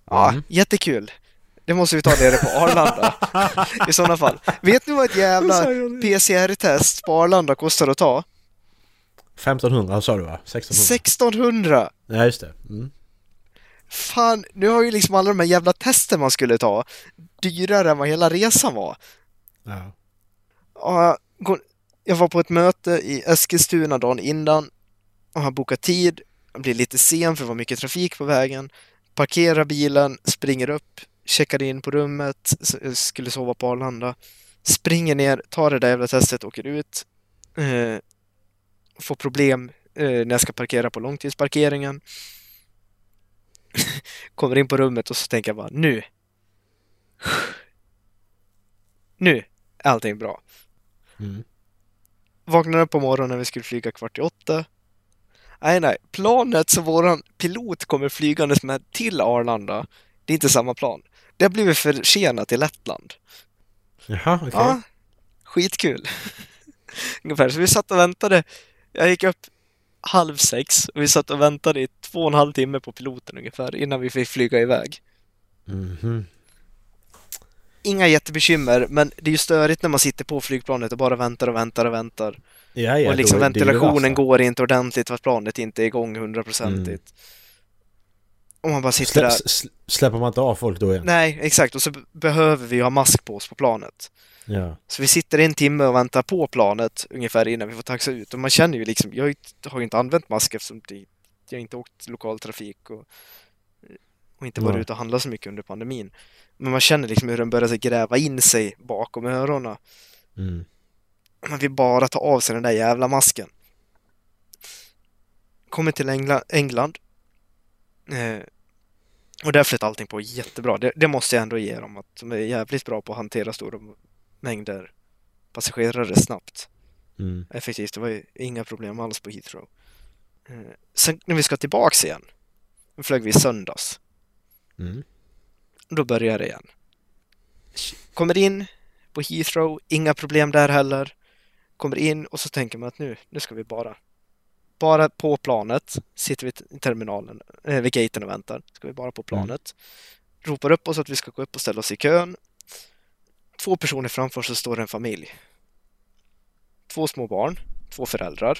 E: Ja,
D: Mm.
E: jättekul. Det måste vi ta nere på Arlanda i sådana fall. Vet ni vad ett jävla PCR-test på Arlanda kostar att ta?
D: 1500 sa du va? 1600?
E: 1600!
D: Nej, just det. Mm.
E: Fan, nu har ju liksom alla de här jävla testen man skulle ta dyrare än vad hela resan var.
D: Ja.
E: Och jag går- jag var på ett möte i Eskilstuna dagen innan och har bokat tid. Jag blir lite sen för det var mycket trafik på vägen. Parkerar bilen, springer upp, checkar in på rummet, s- eh, skulle sova på Arlanda. Springer ner, tar det där jävla testet, åker ut. Eh, får problem eh, när jag ska parkera på långtidsparkeringen. Kommer in på rummet och så tänker jag bara nu. Nu är allting bra.
D: Mm.
E: Vaknade upp på morgonen när vi skulle flyga kvart i åtta. Nej, nej. Planet som våran pilot kommer flygandes med till Arlanda, det är inte samma plan. Det har blivit försenat till Lettland.
D: Jaha, okej.
E: Ja, skitkul. Ungefär. Så vi satt och väntade. Jag gick upp halv sex och vi satt och väntade i två och en halv timme på piloten ungefär innan vi fick flyga iväg.
D: Mhm.
E: Inga jättebekymmer, men det är ju störigt när man sitter på flygplanet och bara väntar och väntar och väntar.
D: Ja, ja,
E: och liksom
D: då är- det är ju det
E: ventilationen
D: värsta.
E: går inte ordentligt för att planet inte är igång hundraprocentigt.
D: Mm.
E: Och man bara sitter
D: Slä,
E: där.
D: s- släpper man inte av folk då igen?
E: Nej, exakt. Och så b- behöver vi ju ha mask på oss på planet.
D: Ja.
E: Så vi sitter en timme och väntar på planet ungefär innan vi får taxa ut. Och man känner ju liksom, jag har ju inte- har ju inte använt mask eftersom det, jag har inte åkt lokaltrafik och, och inte varit
D: Nej.
E: ute och handlat så mycket under pandemin. Men man känner liksom hur den börjar så gräva in sig bakom öronen.
D: Mm.
E: Man vill bara ta av sig den där jävla masken. Kommer till Engla England. Eh, och där flöt allting på jättebra. Det, det måste jag ändå ge dem. Att de är jävligt bra på att hantera stora mängder passagerare snabbt.
D: Mm.
E: Effektivt. Eh, Det var ju inga problem alls på Heathrow. Eh, sen när vi ska tillbaks igen. Då flög vi i söndags.
D: Mm.
E: Då börjar det igen. Kommer in på Heathrow, inga problem där heller. Kommer in och så tänker man att nu, nu ska vi bara... Bara på planet, sitter vi i terminalen, eh, vid gaten och väntar. Ska vi bara på planet. Ropar upp oss att vi ska gå upp och ställa oss i kön. Två personer framför så står det en familj. Två små barn, två föräldrar.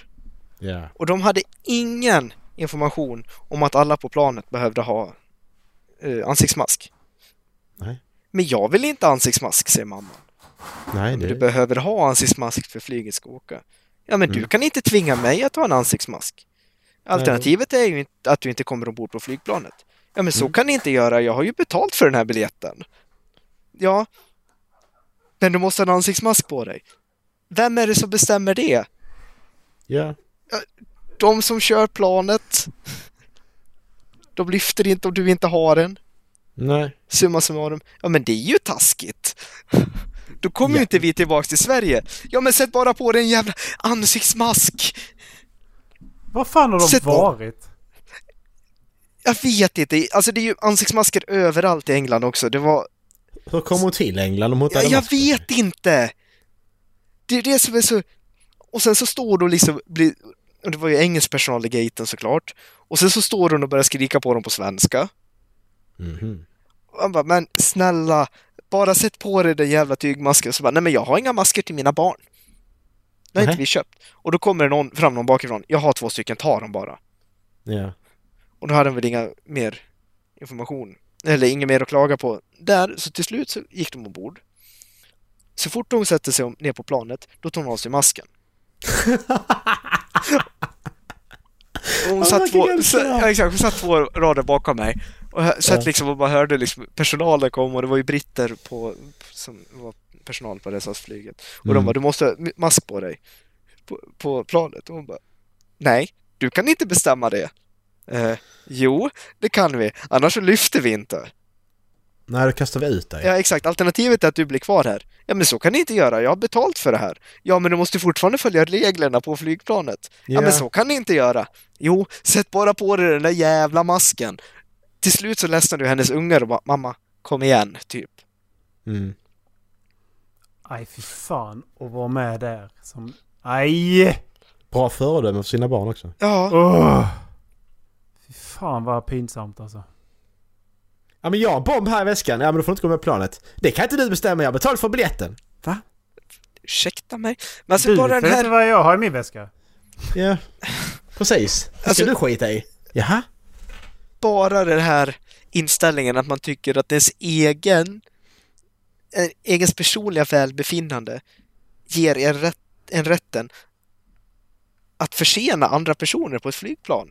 D: Ja.
E: Och de hade ingen information om att alla på planet behövde ha eh, ansiktsmask.
D: Nej.
E: Men jag vill inte ha ansiktsmask, säger mamma.
D: Nej,
E: Men
D: det...
E: du behöver ha ansiktsmask för flyget ska åka. Ja, men
D: Mm.
E: du kan inte tvinga mig att ha en ansiktsmask. Alternativet är ju inte- att du inte kommer ombord på flygplanet. Ja, men
D: Mm.
E: så kan ni inte göra. Jag har ju betalt för den här biljetten. Ja, men du måste ha en ansiktsmask på dig. Vem är det som bestämmer det?
D: Ja.
E: De som kör planet. De lyfter inte om du inte har en.
D: Nej.
E: Summa summarum. Ja, men det är ju taskigt. Då kommer ju inte vi tillbaka till Sverige. Ja, men sätt bara på dig en jävla ansiktsmask.
C: Vad fan har de
E: Sätt-
C: varit?
E: Jag vet inte. Alltså det är ju ansiktsmasker överallt i England också. Det var...
D: Hur kom hon till England om hon inte
E: Jag,
D: hade
E: jag
D: mask på sig?
E: vet inte! Det är det som är så... Och sen så står hon liksom... blir- och Det var ju engelsk personal i gaten såklart. Och sen så står hon och börjar skrika på dem på svenska.
D: Mhm.
E: Och han bara, men snälla, bara sätt på dig den jävla tygmasken. Och så bara, nej men jag har inga masker till mina barn. Det har inte
D: Nej.
E: vi köpt. Och då kommer det någon fram någon bakifrån. Jag har två stycken, ta dem bara.
D: Ja.
E: Och då hade han väl inga mer information, eller inget mer att klaga på där, så till slut så gick de ombord. Så fort de sätter sig om, ner på planet, då tar hon av sig masken. och hon satt, två,
D: vilken
E: så,
D: hjälte.
E: ja, exakt, hon satt två rader bakom mig. Och jag satt liksom och bara hörde liksom, personalen kom och det var ju britter på, som var personal på SAS-flyget. Och
D: Mm.
E: de bara, du måste ha mask på dig på, på planet. Och hon bara, nej, du kan inte bestämma det. Eh, jo, det kan vi. Annars så lyfter vi inte.
D: Nej, då kastar vi ut dig.
E: Ja, exakt. Alternativet är att du blir kvar här. Ja, men så kan ni inte göra. Jag har betalt för det här. Ja, men du måste fortfarande följa reglerna på flygplanet. Ja, men så kan ni inte göra. Jo, sätt bara på dig den där jävla masken. Till slut så ledsnar du hennes ungar och bara, mamma, kom igen, typ.
D: Mm.
C: Aj fy fan att vara med där. Som... Aj!
D: Bra föredöme för sina barn också.
E: Ja,
C: Oh. Fy fan vad pinsamt alltså.
D: Ja men jag har en bomb här i väskan. Ja men då får du inte gå med på planet. Det kan inte du bestämma, jag har betalt för biljetten.
E: ursäkta mig. Men alltså
C: Du,
E: bara
C: vet
E: den här
C: inte vad jag har i min väska?
D: Ja. Precis. Det ska
E: Alltså-
D: du skita i. Jaha?
E: bara den här inställningen att man tycker att ens egen eh, egens personliga välbefinnande ger en, rätt, en rätten att försena andra personer på ett flygplan.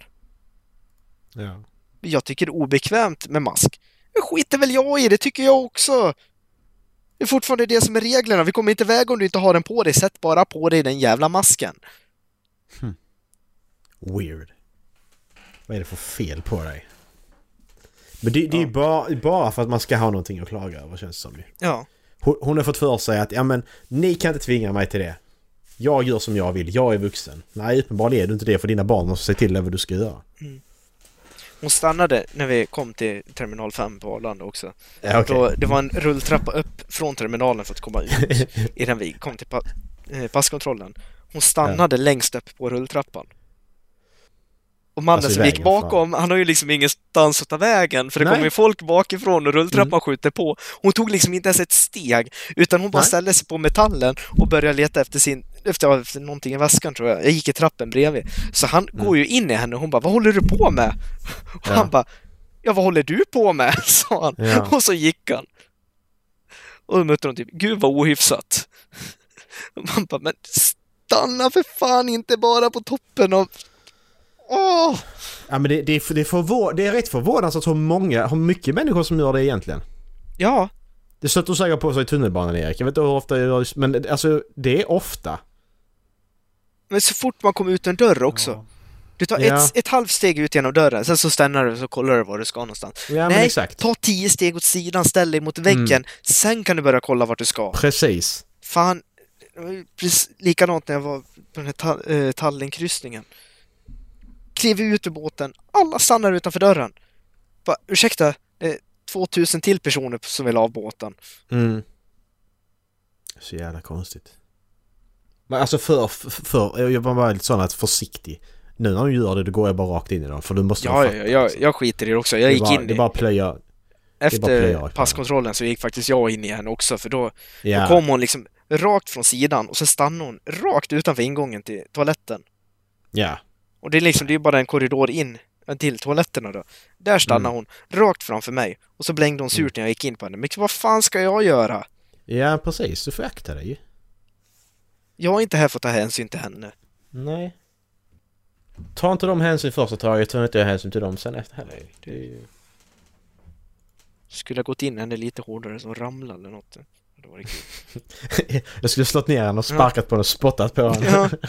D: Ja.
E: Jag tycker det är obekvämt med mask. Det skiter väl jag i, det tycker jag också! Det är fortfarande det som är reglerna, vi kommer inte iväg om du inte har den på dig, sätt bara på dig den jävla masken.
D: Weird. Vad är det för fel på dig? Men det, det är ju bara, bara för att man ska ha någonting att klaga över känns det som ju.
E: Ja,
D: Hon, hon har fått för sig att ja men ni kan inte tvinga mig till det. Jag gör som jag vill, jag är vuxen. Nej uppenbarligen är du inte det för dina barn måste se till dig vad du ska göra.
E: hon stannade när vi kom till terminal 5 på Arlanda också.
D: Ja, okej.
E: Då, det var en rulltrappa upp från terminalen för att komma ut innan vi kom till pa eh, passkontrollen. Hon stannade längst upp på rulltrappan. Och mannen
D: Alltså i
E: som gick
D: vägen,
E: bakom, han har ju liksom ingenstans att ta vägen för det
D: Nej. Mm.
E: kommer ju folk bakifrån och rulltrappan skjuter på. Hon tog liksom inte ens ett steg utan hon bara
D: Nej.
E: ställde sig på metallen och började leta efter sin efter, efter någonting i väskan tror jag. Jag gick i trappen bredvid. Så han
D: Mm.
E: går ju in i henne och hon bara ”Vad håller du på med?” Och
D: Ja.
E: han bara ”Ja, vad håller du på med?” sa han.
D: Ja.
E: Och så gick han. Och då mötte de typ ”Gud vad ohyfsat”. Och man bara ”Men stanna för fan inte bara på toppen av...” Åh!
D: Ja men det, det, är- det, är förvå- det är rätt förvånansvärt hur många, hur mycket människor som gör det egentligen.
E: Ja,
D: Det stöter du säkert på sig i tunnelbanan Erik. Jag vet inte hur ofta jag gör men det- alltså det är ofta.
E: men så fort man kommer ut en dörr också. Du tar
D: Ja.
E: ett, ett halvt steg ut genom dörren, sen så stannar du och så kollar du var du ska någonstans.
D: Ja men
E: Nej,
D: exakt.
E: ta tio steg åt sidan, ställ dig mot väggen,
D: Mm.
E: sen kan du börja kolla vart du ska.
D: Precis.
E: Fan, det var ju precis likadant när jag var på den här ta- eh, Tallinnkryssningen. Klev ut ur båten, alla stannar utanför dörren. Bara, ursäkta, det är 2000 till personer som vill av båten.
D: Mm. Så jävla konstigt. Men alltså för, för, för jag var bara lite sån att försiktig. Nu när du gör det då går jag bara rakt in i dem för du måste
E: Ja, ja,
D: fatta,
E: ja, jag,
D: liksom.
E: jag skiter i det också. Jag
D: det
E: gick
D: bara,
E: in
D: Det
E: i,
D: är bara plöja. bara
E: efter
D: player.
E: passkontrollen så gick faktiskt jag in i henne också för då,
D: Ja.
E: då kom hon liksom rakt från sidan och sen stannade hon rakt utanför ingången till toaletten.
D: Ja.
E: Och det är liksom, det är bara en korridor in till toaletterna då. Där stannar
D: Mm.
E: hon, rakt framför mig. Och så blängde hon surt när jag gick in på henne. Men vad fan ska jag göra?
D: Ja precis, du får akta dig ju.
E: Jag är inte här för att ta hänsyn till henne.
D: Nej. Ta inte de hänsyn första taget, ta inte jag hänsyn till dem sen efter heller. Det är ju...
E: Skulle ha gått in henne lite hårdare så hon ramlade eller något. Det var riktigt.
D: Jag skulle slått ner henne och sparkat på henne och spottat på henne.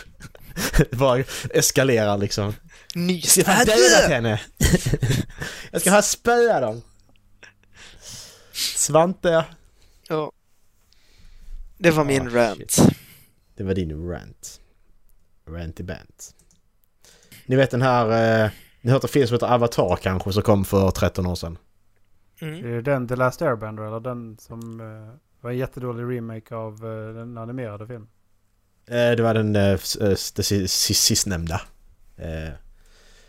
E: Ja,
D: Bara eskalerar liksom.
E: nys.
D: Jag har dödat henne! jag ska ha spöa dem! Svante!
E: Ja. Det var min
D: Ah,
E: rant.
D: Det var din rant. Ranty Bant. Ni vet den här... Eh, ni har hört en film som heter Avatar kanske som kom för 13 år sedan?
E: Mm.
C: Är det den The Last Airbender eller den som eh, var en jättedålig remake av eh, den animerade filmen?
D: Eh, det var den eh, s- eh, s- det si- si- sistnämnda. Eh,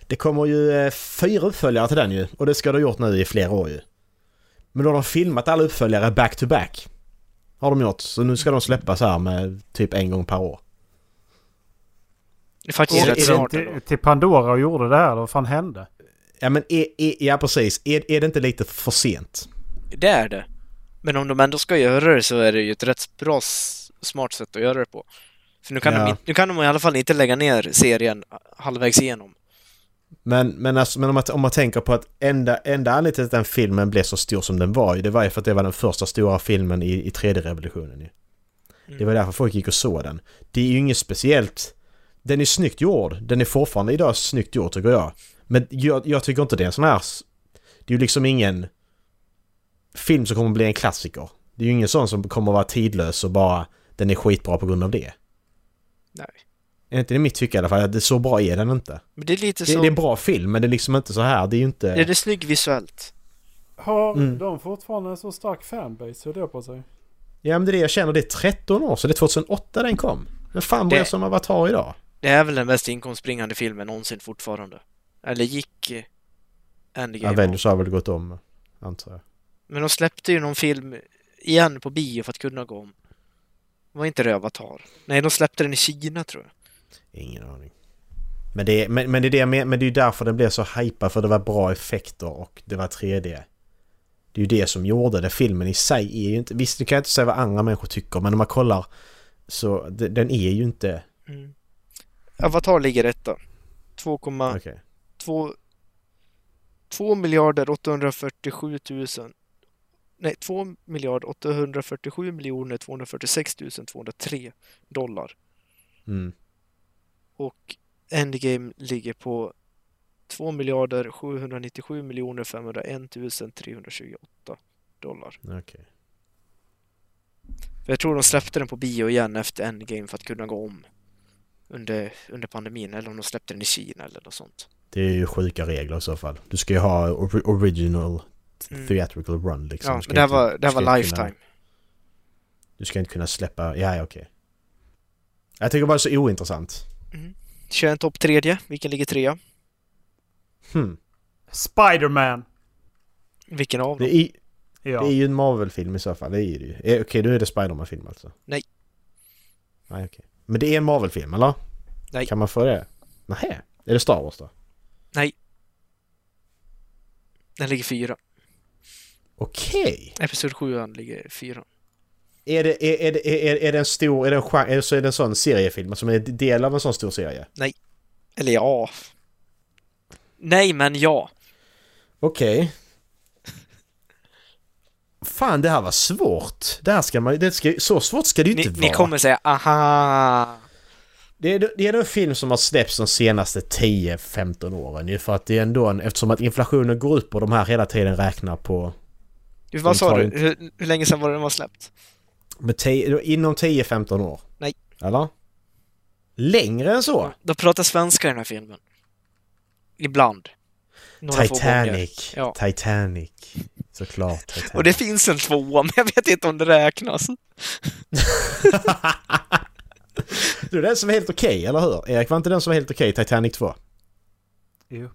D: det kommer ju eh, fyra uppföljare till den ju. Och det ska de ha gjort nu i flera år ju. Men då har de filmat alla uppföljare back to back. Har de gjort. Så nu ska de släppas här med typ en gång per år.
E: Det är faktiskt
D: Och-
E: rätt
D: är det
E: smart ändå.
C: till, till Pandora och gjorde det här då? Vad fan hände?
D: Ja men är, är, ja, precis. Är, är det inte lite för sent?
E: Det är det. Men om de ändå ska göra det så är det ju ett rätt bra s- smart sätt att göra det på. För nu kan,
D: Ja.
E: de, inte- nu kan de i alla fall inte lägga ner serien halvvägs igenom.
D: Men, men, alltså, men om, man, om man tänker på att enda, enda anledningen till att den filmen blev så stor som den var ju, det var ju för att det var den första stora filmen i, i 3D-revolutionen ju. Det var därför folk gick och såg den. Det är ju inget speciellt. Den är snyggt gjord. Den är fortfarande idag snyggt gjord tycker jag. Men jag, jag tycker inte det är en sån här... s- Det är ju liksom ingen film som kommer bli en klassiker. Det är ju ingen sån som kommer vara tidlös och bara den är skitbra på grund av det.
E: Nej.
D: Inte i mitt tycke i alla fall. Det, så bra är den inte.
E: Men det är lite
D: Det,
E: så...
D: det är en bra film men det är liksom inte så här. Det är ju inte...
E: det är snygg visuellt.
C: Har
D: Mm.
C: de fortfarande en så stark fanbase? Hur det på sig?
D: Ja men det är det jag känner. Det är 13 år sedan. Det är 2008 den kom. Men fan bryr
E: Det-
D: sig om Avatar idag?
E: Det är väl den mest inkomstbringande filmen någonsin fortfarande. Eller gick eh, Endgame.
D: Avengers har väl gått om, antar jag.
E: Men de släppte ju någon film igen på bio för att kunna gå om. Var inte det Avatar? Nej, de släppte den i Kina tror jag.
D: Ingen aning. Men det, är, men, men, det är det, jag men, men det är ju därför den blev så hypad, för det var bra effekter och det var 3D. Det är ju det som gjorde det. Filmen i sig är ju inte... Visst, du kan inte säga vad andra människor tycker, men om man kollar så de- den är ju inte...
E: Avatar ligger etta. 2,2
D: Okej.
E: 2, 2 miljarder 847 000 Nej, 2 miljarder 847 miljoner 246 203 dollar.
D: Mm.
E: Och Endgame ligger på 2 miljarder 797 miljoner 501 328 dollar.
D: Okej.
E: För jag tror de släppte den på bio igen efter Endgame för att kunna gå om under, under pandemin. Eller om de släppte den i Kina eller något sånt.
D: Det är ju sjuka regler i så fall. Du ska ju ha or- original
E: Mm.
D: theatrical run liksom.
E: Ja,
D: Du ska
E: men det här
D: inte-
E: var, det
D: du
E: här
D: ska
E: var
D: inte kunna-
E: Lifetime.
D: Du ska inte kunna släppa... Ja, ja, okej. Jag tycker bara det är så ointressant.
E: Kör en topp tredje. Vilken ligger trea?
D: Hmm.
C: Spiderman!
E: Vilken av dem?
D: Det är,
C: Ja.
D: Det är ju en Marvel-film i så fall, det är det ju. Eh, Okej, då är det Spiderman-film alltså?
E: Nej.
D: Nej, okej. Men det är en Marvel-film, eller?
E: Nej.
D: Kan man få det? Nej. Är det Star Wars då?
E: Den ligger fyra.
D: Okej!
E: Episod 7 ligger fyra.
D: Är, det, är, är, det- är, är, är det en stor, är det en genre, är, så är det en sån seriefilm som är del av en sån stor serie?
E: Eller ja. Nej, men ja.
D: Okej. Fan, det här var svårt. Det här ska man det ska, så svårt ska det ju
E: Ni,
D: inte
E: ni
D: vara.
E: kommer säga aha.
D: Det är, det är en film som har släppts de senaste 10-15 åren ju för att det är ändå en, eftersom att inflationen går upp och de här hela tiden räknar på
E: Du,
D: De
E: vad sa
D: tar
E: du?
D: inte-
E: Hur, hur länge sedan var det den var släppt?
D: med te, inom 10-15 år.
E: Nej.
D: Eller? Längre än så?
E: De pratar svenska i den här filmen. Ibland. Några få gånger.
D: Titanic.
E: Ja.
D: Titanic. Såklart Titanic.
E: Och det finns en tvåa, men jag vet inte om det räknas.
D: du, den som är helt okej, eller hur? Erik, var inte den som var helt okej Titanic 2?
C: Jo.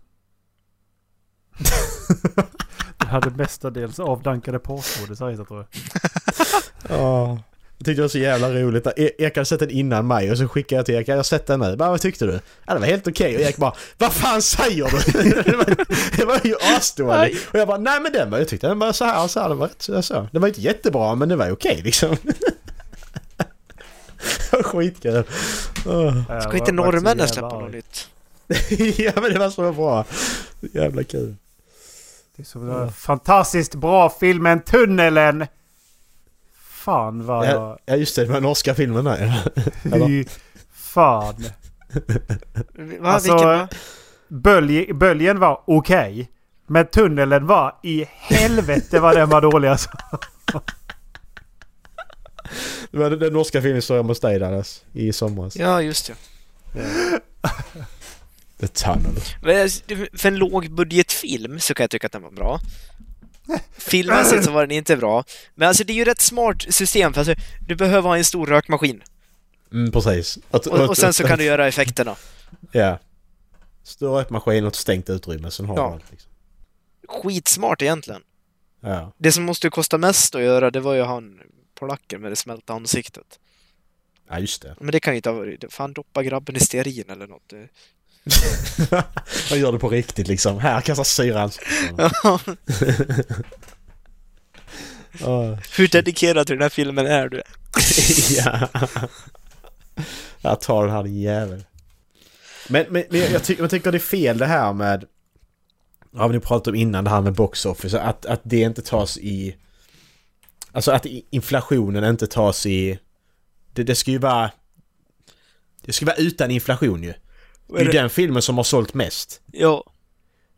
C: det hade mestadels avdankade porrskådisar tror jag.
D: Ja. Jag tyckte det var så jävla roligt. E- Erik hade sett den innan mig och så skickade jag till Erik. Jag har sett den nu. Bara, vad tyckte du? Ja, det var helt okej. Och Erik bara, vad fan säger du? det, var, det var ju asdåligt. Och jag bara, nej men den var, jag tyckte den var alltså, så här och så här. Den var rätt så. så. Den var inte jättebra men den var okej liksom. det var skitkul. Åh.
C: Eh,
E: Ska
C: var-
E: inte
C: var så jävla
E: norrmännen släppa
C: arg.
E: något nytt?
D: ja men det var så bra. Jävla kul.
C: Det är så bra. fantastiskt bra filmen Tunnelen! Fan vad
D: Ja,
C: jag...
D: ja just det, det var norska filmen där. eller?
C: Fy fan.
E: Va,
C: Alltså,
E: vilken, va?
C: Bölj, böljen var okej. men tunneln var i helvete vad den var dålig alltså.
D: Det var den- den norska filmen som jag måste dig där alltså, i somras.
E: Ja, just det.
D: The Tunnel.
E: Men jag- För en lågbudgetfilm så kan jag tycka att den var bra. Filmmässigt så var den inte bra. Men alltså det är ju rätt smart system för alltså, du behöver ha en stor rökmaskin.
D: Mm, precis. Att-
E: Och, och
D: att-
E: sen så
D: att-
E: kan du göra effekterna.
D: Ja. Stå upp maskinen och ett stängt utrymme, sen har
E: Ja.
D: du allt liksom.
E: Skitsmart egentligen.
D: Ja.
E: Det som måste kosta mest att göra det var ju han polacken med det smälta ansiktet.
D: ja, just det.
E: Men det kan ju inte ha varit... Fan, doppa grabben i stearin eller något. Det-
D: Man gör det på riktigt liksom. Här, kasta syra i ansiktet. Åh,
E: Hur dedikerad till den här filmen är du?
D: ja. Jag tar den här din jävel. Men, men, men jag, ty- jag tycker det är fel det här med... Ja, vi pratat om innan det här med box office. Att, att det inte tas i... Alltså att i- inflationen inte tas i... Det, det ska ju vara... Det ska vara utan inflation ju. Det är ju den filmen som har sålt mest.
E: Ja.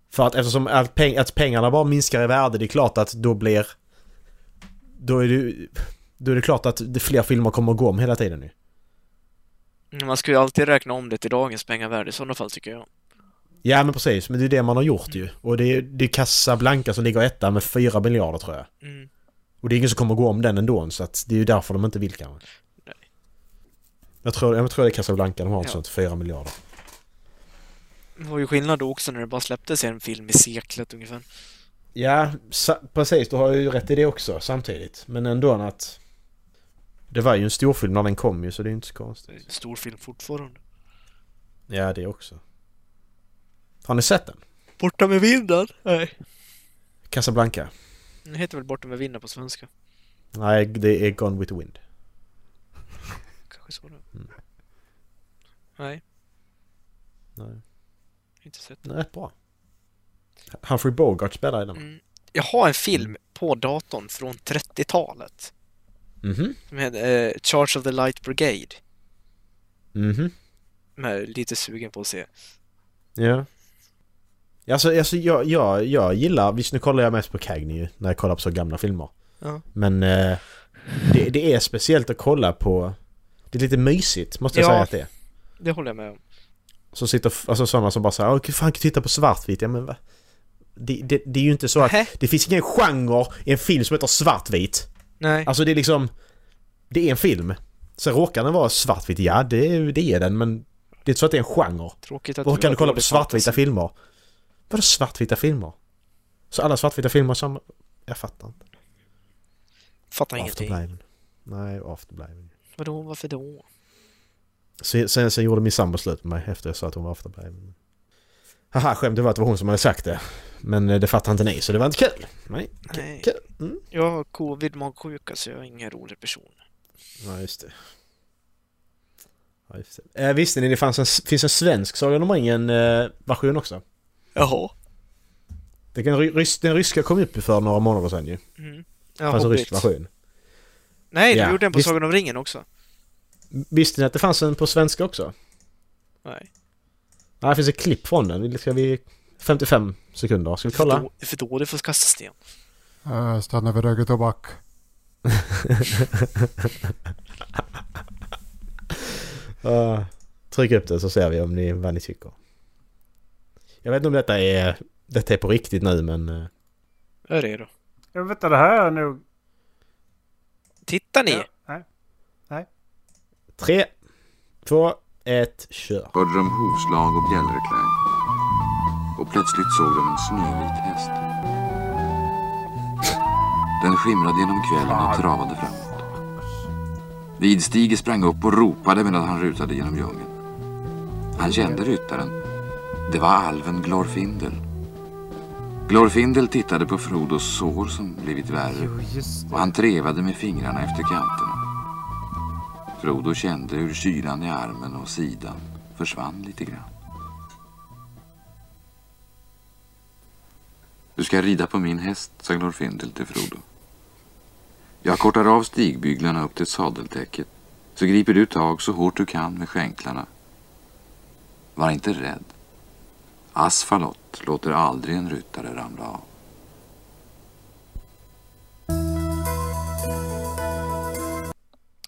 D: För att eftersom att, peng, att pengarna bara minskar i värde, det är klart att då blir... Då är det, då är det klart att det- fler filmer kommer att gå om hela tiden nu.
E: Man ska ju alltid räkna om det till dagens pengavärde i sådana fall tycker jag.
D: Ja men precis, men det är det man har gjort ju. Och det är, det är Casablanca som ligger etta med 4 miljarder tror jag.
E: Mm.
D: Och det är ingen som kommer att gå om den ändå, så att det är ju därför de inte vill kanske.
E: Nej.
D: Jag tror, jag tror det är Casablanca de har,
E: Ja.
D: sånt 4 miljarder.
E: Det var ju skillnad då också när det bara släpptes en film i seklet ungefär.
D: Ja, sa- precis. Du har ju rätt i det också samtidigt. Men ändå att... Det var ju en storfilm när den kom ju, så det är ju inte så konstigt.
E: Det är en Stor film fortfarande.
D: Ja, det också. Har ni sett den?
E: Borta med vinden? Nej.
D: Casablanca?
E: Den heter väl Borta med vinden på svenska?
D: Nej, det är Gone with the Wind.
E: Kanske så det. Nej,
D: Nej.
E: inte sett.
D: Den är rätt bra. Humphrey Bogart spelar i den.
E: Mm. Jag har en film på datorn från 30-talet.
D: Mhm.
E: Med eh, Charge of the Light Brigade.
D: Mhm.
E: Med lite sugen på att se.
D: Ja. Alltså, alltså jag, jag, jag gillar... Visst, nu kollar jag mest på Cagney ju, när jag kollar på så gamla filmer.
E: Ja.
D: Men eh, det, det är speciellt att kolla på... Det är lite mysigt, måste jag
E: Ja.
D: säga att det är.
E: Det håller jag med om.
D: Som sitter, alltså sådana som bara säger Åh, fan kan du titta på svartvitt? Ja men va? Det, det, det är ju inte så att...
E: Nähä.
D: Det finns ingen genre i en film som heter svartvit.
E: Nej.
D: Alltså det är liksom... Det är en film. Sen råkar den vara svartvit, ja det, det är den men... Det är inte så att det är en genre.
E: Tråkigt att
D: Då kan
E: har
D: du kolla på
E: dålig
D: svartvita
E: fantasi.
D: filmer. Vadå svartvita filmer? Så alla svartvita filmer som... Jag fattar inte.
E: Fattar ingenting.
D: Afterblaven. Nej, Afterblaven.
E: Vadå, varför då?
D: Sen, sen, sen gjorde min sambo slut med mig efter jag sa att hon var afterbliven. Haha, skämtet var att det var hon som hade sagt det. Men eh, det fattade inte ni, så det var inte kul. Nej,
E: Nej.
D: kul. Mm.
E: Jag har covid-magsjuka så jag är ingen rolig person.
D: Ja, just det. Ja, just det. Eh, visste ni det fanns en, finns en svensk Sagan om ringen-version också?
E: Jaha.
D: Det kan, rys, den ryska kom upp för några månader sedan ju.
E: Mm.
D: Det
E: Ja,
D: fanns en
E: Hobbit.
D: rysk version.
E: Nej, du
D: Ja,
E: gjorde den på
D: visst.
E: Sagan om ringen också.
D: Visste ni att det fanns en på svenska också?
E: Nej.
D: Nej, det finns ett klipp från den. Ska vi... 55 sekunder. Ska vi kolla?
E: Då, för då det får kasta sten.
B: Uh, stanna vid röker tobak.
D: Ja, tryck upp det så ser vi om ni, vad ni tycker. Jag vet inte om detta är, detta är på riktigt nu men... eh,
E: Vad är det då?
C: Jag vet inte, det här är nog...
E: Tittar ni?
C: Ja, nej.
D: Tre, två, ett, kör.
G: hörde de hovslag och bjällerklang. Och plötsligt såg de en snövit häst. Den skimrade genom kvällen och travade framåt. Vidstige sprang upp och ropade medan han rusade genom djungeln. Han kände ryttaren. Det var alven Glorfindel. Glorfindel tittade på Frodos sår som blivit värre
C: Jo, just
G: och han trevade med fingrarna efter kanterna. Frodo kände hur kylan i armen och sidan försvann lite grann. Du ska rida på min häst, sa Glorfindel till Frodo. Jag kortar av stigbyglarna upp till sadeltäcket så griper du tag så hårt du kan med skänklarna. Var inte rädd. Asfalot låter aldrig en ryttare ramla av.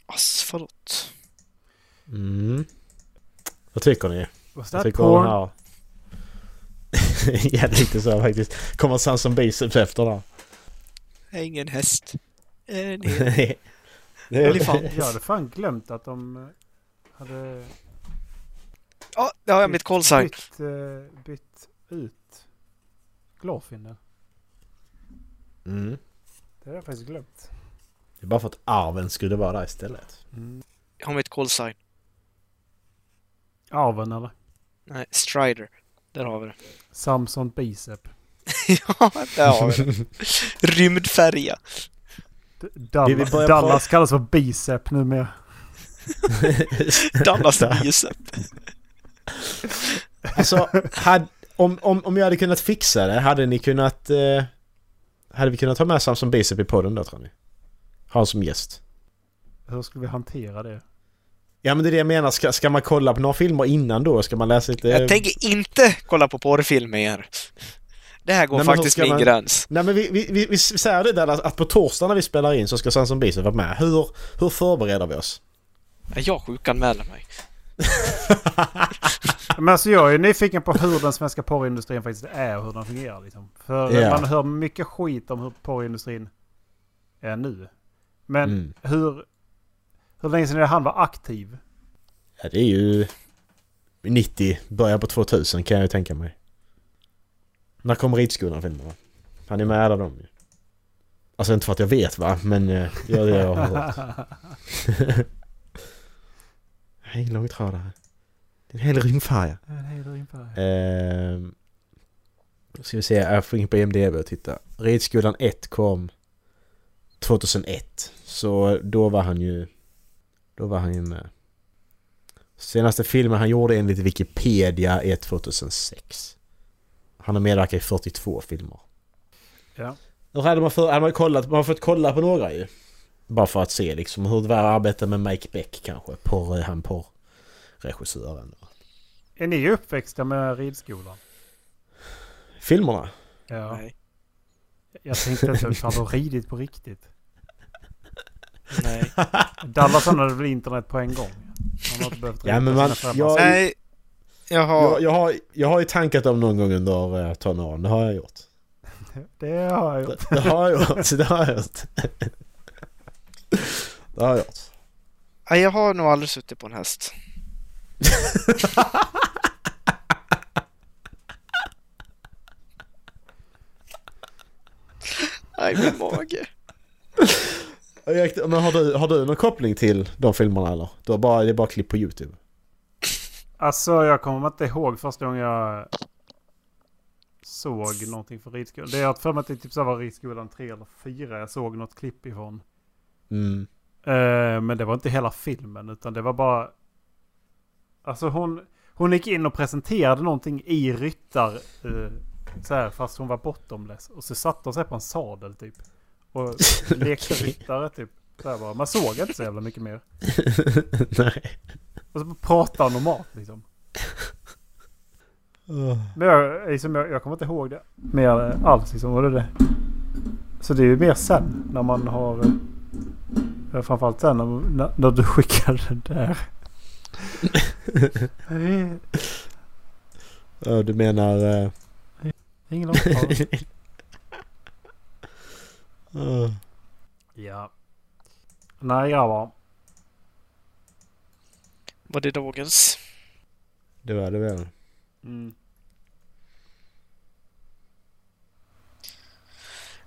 E: Asfalot.
D: Mm. Vad tycker ni?
C: What's
D: Jag
C: that
D: tycker om den
C: porn?
D: här... ja, lite så faktiskt. Kommer Sanson Biceps efter där.
E: Jag är ingen häst. En hel
D: Det är-
E: elefant.
C: Jag hade fan glömt att de eh, hade...
E: Ja, där har jag mitt call sign.
C: Bytt, eh, bytt ut Glorfindel.
D: Mm.
C: Det har jag faktiskt glömt.
D: Det är bara för att arven skulle vara där istället.
E: Jag har mitt call sign.
C: Arven eller?
E: Nej, Strider. Där har vi det.
C: Samson Bicep.
E: ja, där har vi det. Rymdfärja.
C: D-
D: Vill vi
C: Dallas,
D: börja
C: Dallas kallas för Bicep numera.
E: Dallas Bicep.
D: Alltså, had, om, om, om jag hade kunnat fixa det, hade ni kunnat... Eh, hade vi kunnat ha med Samson Bicep i podden då tror ni? Ha honom som gäst.
C: Hur skulle vi hantera det?
D: Ja men det är det jag menar, ska, ska man kolla på några filmer innan då? Ska man läsa lite...
E: Jag tänker inte kolla på porrfilmer. Det här går
D: Nej, men hur
E: faktiskt
D: ska
E: min
D: man-
E: gräns.
D: Nej men vi, vi, vi, vi säger det där att på torsdag när vi spelar in så ska Samson Bicep vara med. Hur, hur förbereder vi oss?
E: Ja, Jag sjukanmäler mig.
C: Men alltså jag är nyfiken på hur den svenska porrindustrin faktiskt är och hur den fungerar. Liksom. För
D: Ja.
C: man hör mycket skit om hur porrindustrin är nu. Men
D: Mm.
C: hur, hur länge sedan är det han var aktiv?
D: Ja, det är ju 90, början på 2000 kan jag ju tänka mig. När kommer Ridskolan-filmerna? Han är med i alla dem ju. Alltså inte för att jag vet va, men eh, ja, det har jag hört. Jag är en långtradare. Det är en hel rymdfärja. Ehm, Då ska vi se, jag får in på IMDB och titta. Ridskolan 1 kom 2001. Så då var han ju... Då var han ju med. Senaste filmen han gjorde enligt Wikipedia är 2006. Han har medverkat i 42 filmer.
C: Ja.
D: Då hade man, för, hade man, kollat, man har fått kolla på några ju. Bara för att se liksom hur det var att arbeta med Mike Beck kanske. Porr, han porrregissören.
C: Är ni uppväxta med ridskolan?
D: Filmerna?
C: Ja.
E: Nej.
C: Jag tänkte inte att han har ridit på riktigt.
E: Nej.
C: Dallas han hade väl internet på en gång. Han har inte behövt
D: Ja,
C: rida
D: men
C: på
D: man-
C: sina
D: jag-
C: föräldrar.
E: Nej. Jag har...
D: Jag, jag, har, jag har ju tankat dem någon gång under eh, tonåren, det har jag gjort.
C: Det har jag gjort.
D: Det, det har jag gjort, det har jag gjort. Det har jag gjort.
E: Nej, jag har nog aldrig suttit på en häst. Nej, min mage.
D: Och jag- Men har du, har du någon koppling till de filmerna eller? Du har bara, det är bara klipp på YouTube?
C: Alltså jag kommer inte ihåg första gången jag såg någonting för ridskolan. Det är att för mig att det typ så här var ridskolan 3 eller 4 jag såg något klipp ifrån.
D: Mm.
C: Eh, men det var inte hela filmen utan det var bara... Alltså hon, hon gick in och presenterade någonting i ryttar... eh, så här, fast hon var bottomless. Och så satte hon sig på en sadel typ. Och lekte ryttare typ. Så här bara. Man såg inte så jävla mycket mer.
D: Nej.
C: Och så pratade hon om mat liksom.
D: Ah.
C: Men jag, liksom, jag, jag kommer inte ihåg det mer eh, alls. Liksom, var det det? Så det är ju mer sen när man har... eh, eh, Framförallt sen när, när, när du skickade den där. Det är
D: Ja, Du menar... eh,
C: Ingen långtradare.
D: eh,
C: Ja. Nej grabbar.
E: Var det dagens?
D: det var det väl.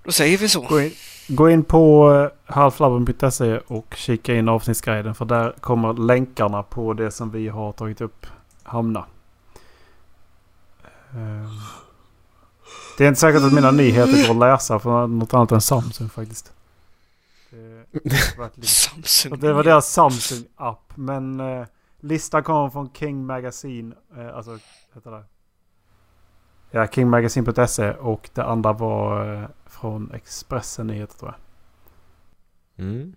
E: Då säger vi så.
C: Gå, in, gå in på eh, halflabben.se och kika in avsnittsguiden. För där kommer länkarna på det som vi har tagit upp hamna. Ehm. Det är inte säkert att mina nyheter går att läsa från något annat än Samsung faktiskt. Det- varit lite-
E: Samsung.
C: Att det var deras Samsung-app. Men eh, listan kom från King Magazine. Eh, alltså, heter det? Ja, kingmagazine.se och det andra var eh, från Expressen Nyheter tror jag.
D: Mm.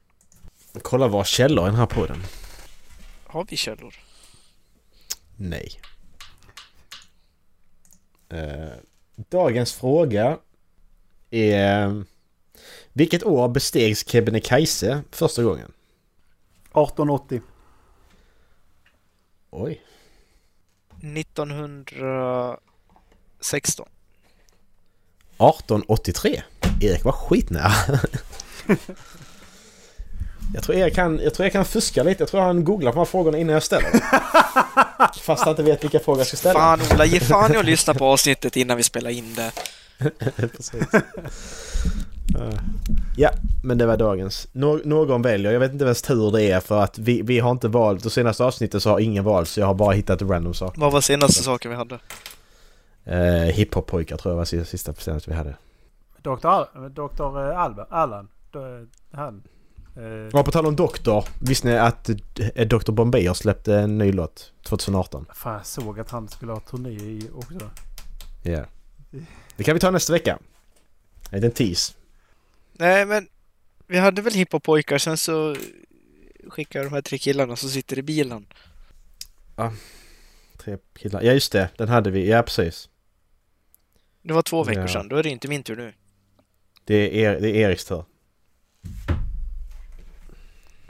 D: Kolla våra källor i den här podden.
E: Har vi källor?
D: Nej. Eh, dagens fråga är... Vilket år bestegs Kebnekaise första gången?
C: 1880.
D: Oj.
E: 1916.
D: 1883. Erik var skitnära. jag, tror Erik kan, jag tror Erik kan fuska lite. Jag tror han googlar på de här frågorna innan jag ställer dem. Fast han inte vet vilka frågor jag ska ställa.
E: Fan Ola, ge fan i att lyssna på avsnittet innan vi spelar in det.
D: Precis. Eh, Ja, men det var dagens. Nå- någon väljer, jag vet inte vems tur det är för att vi, vi har inte valt, och senaste avsnittet så har ingen valt så jag har bara hittat random saker.
E: Vad var senaste saken vi hade?
D: Eh, Hiphop-pojkar tror jag var sista sista bestämmelsen vi hade.
C: Dr. Al- eh, Dr. Albert, Allan. D- Han. Eh,
D: Ja, på tal om Doktor, visste ni att eh, Dr. Bombay har släppt en ny låt 2018?
C: fan, jag såg att han skulle ha turné i också.
D: Ja. Det kan vi ta nästa vecka. En liten tease.
E: Nej men, vi hade väl hiphop-pojkar, sen så skickar jag de här tre killarna som sitter i bilen.
D: Tre killar. Ja, just det. Den hade vi. Ja, precis.
E: Det var två veckor
D: Ja.
E: sedan, då är det inte min tur nu.
D: Det är, er, det är Eriks tur.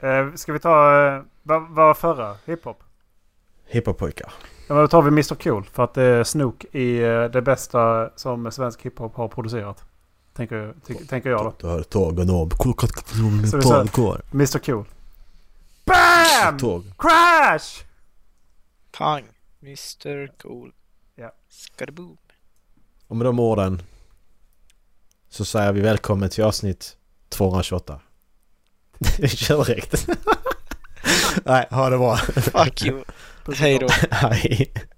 C: Eh, ska vi ta... Eh, vad vad var förra? Hiphop?
D: Hiphop-pojkar.
C: Ja, men då tar vi Mr Cool för att det är Snook i eh, det bästa som svensk hiphop har producerat. Tänker, jag- ty- tänker jag då.
D: Du har tagen av.
C: Så vi sa- Mr Cool. BAM!
D: Tåg.
C: Crash!
E: Pang! Mr Cool.
C: Ja.
E: Skadaboom.
D: Och med de orden så säger vi välkommen till avsnitt 228. Vi kör direkt. Nej, ha det bra.
E: Fuck you. Hej då.
D: Hej.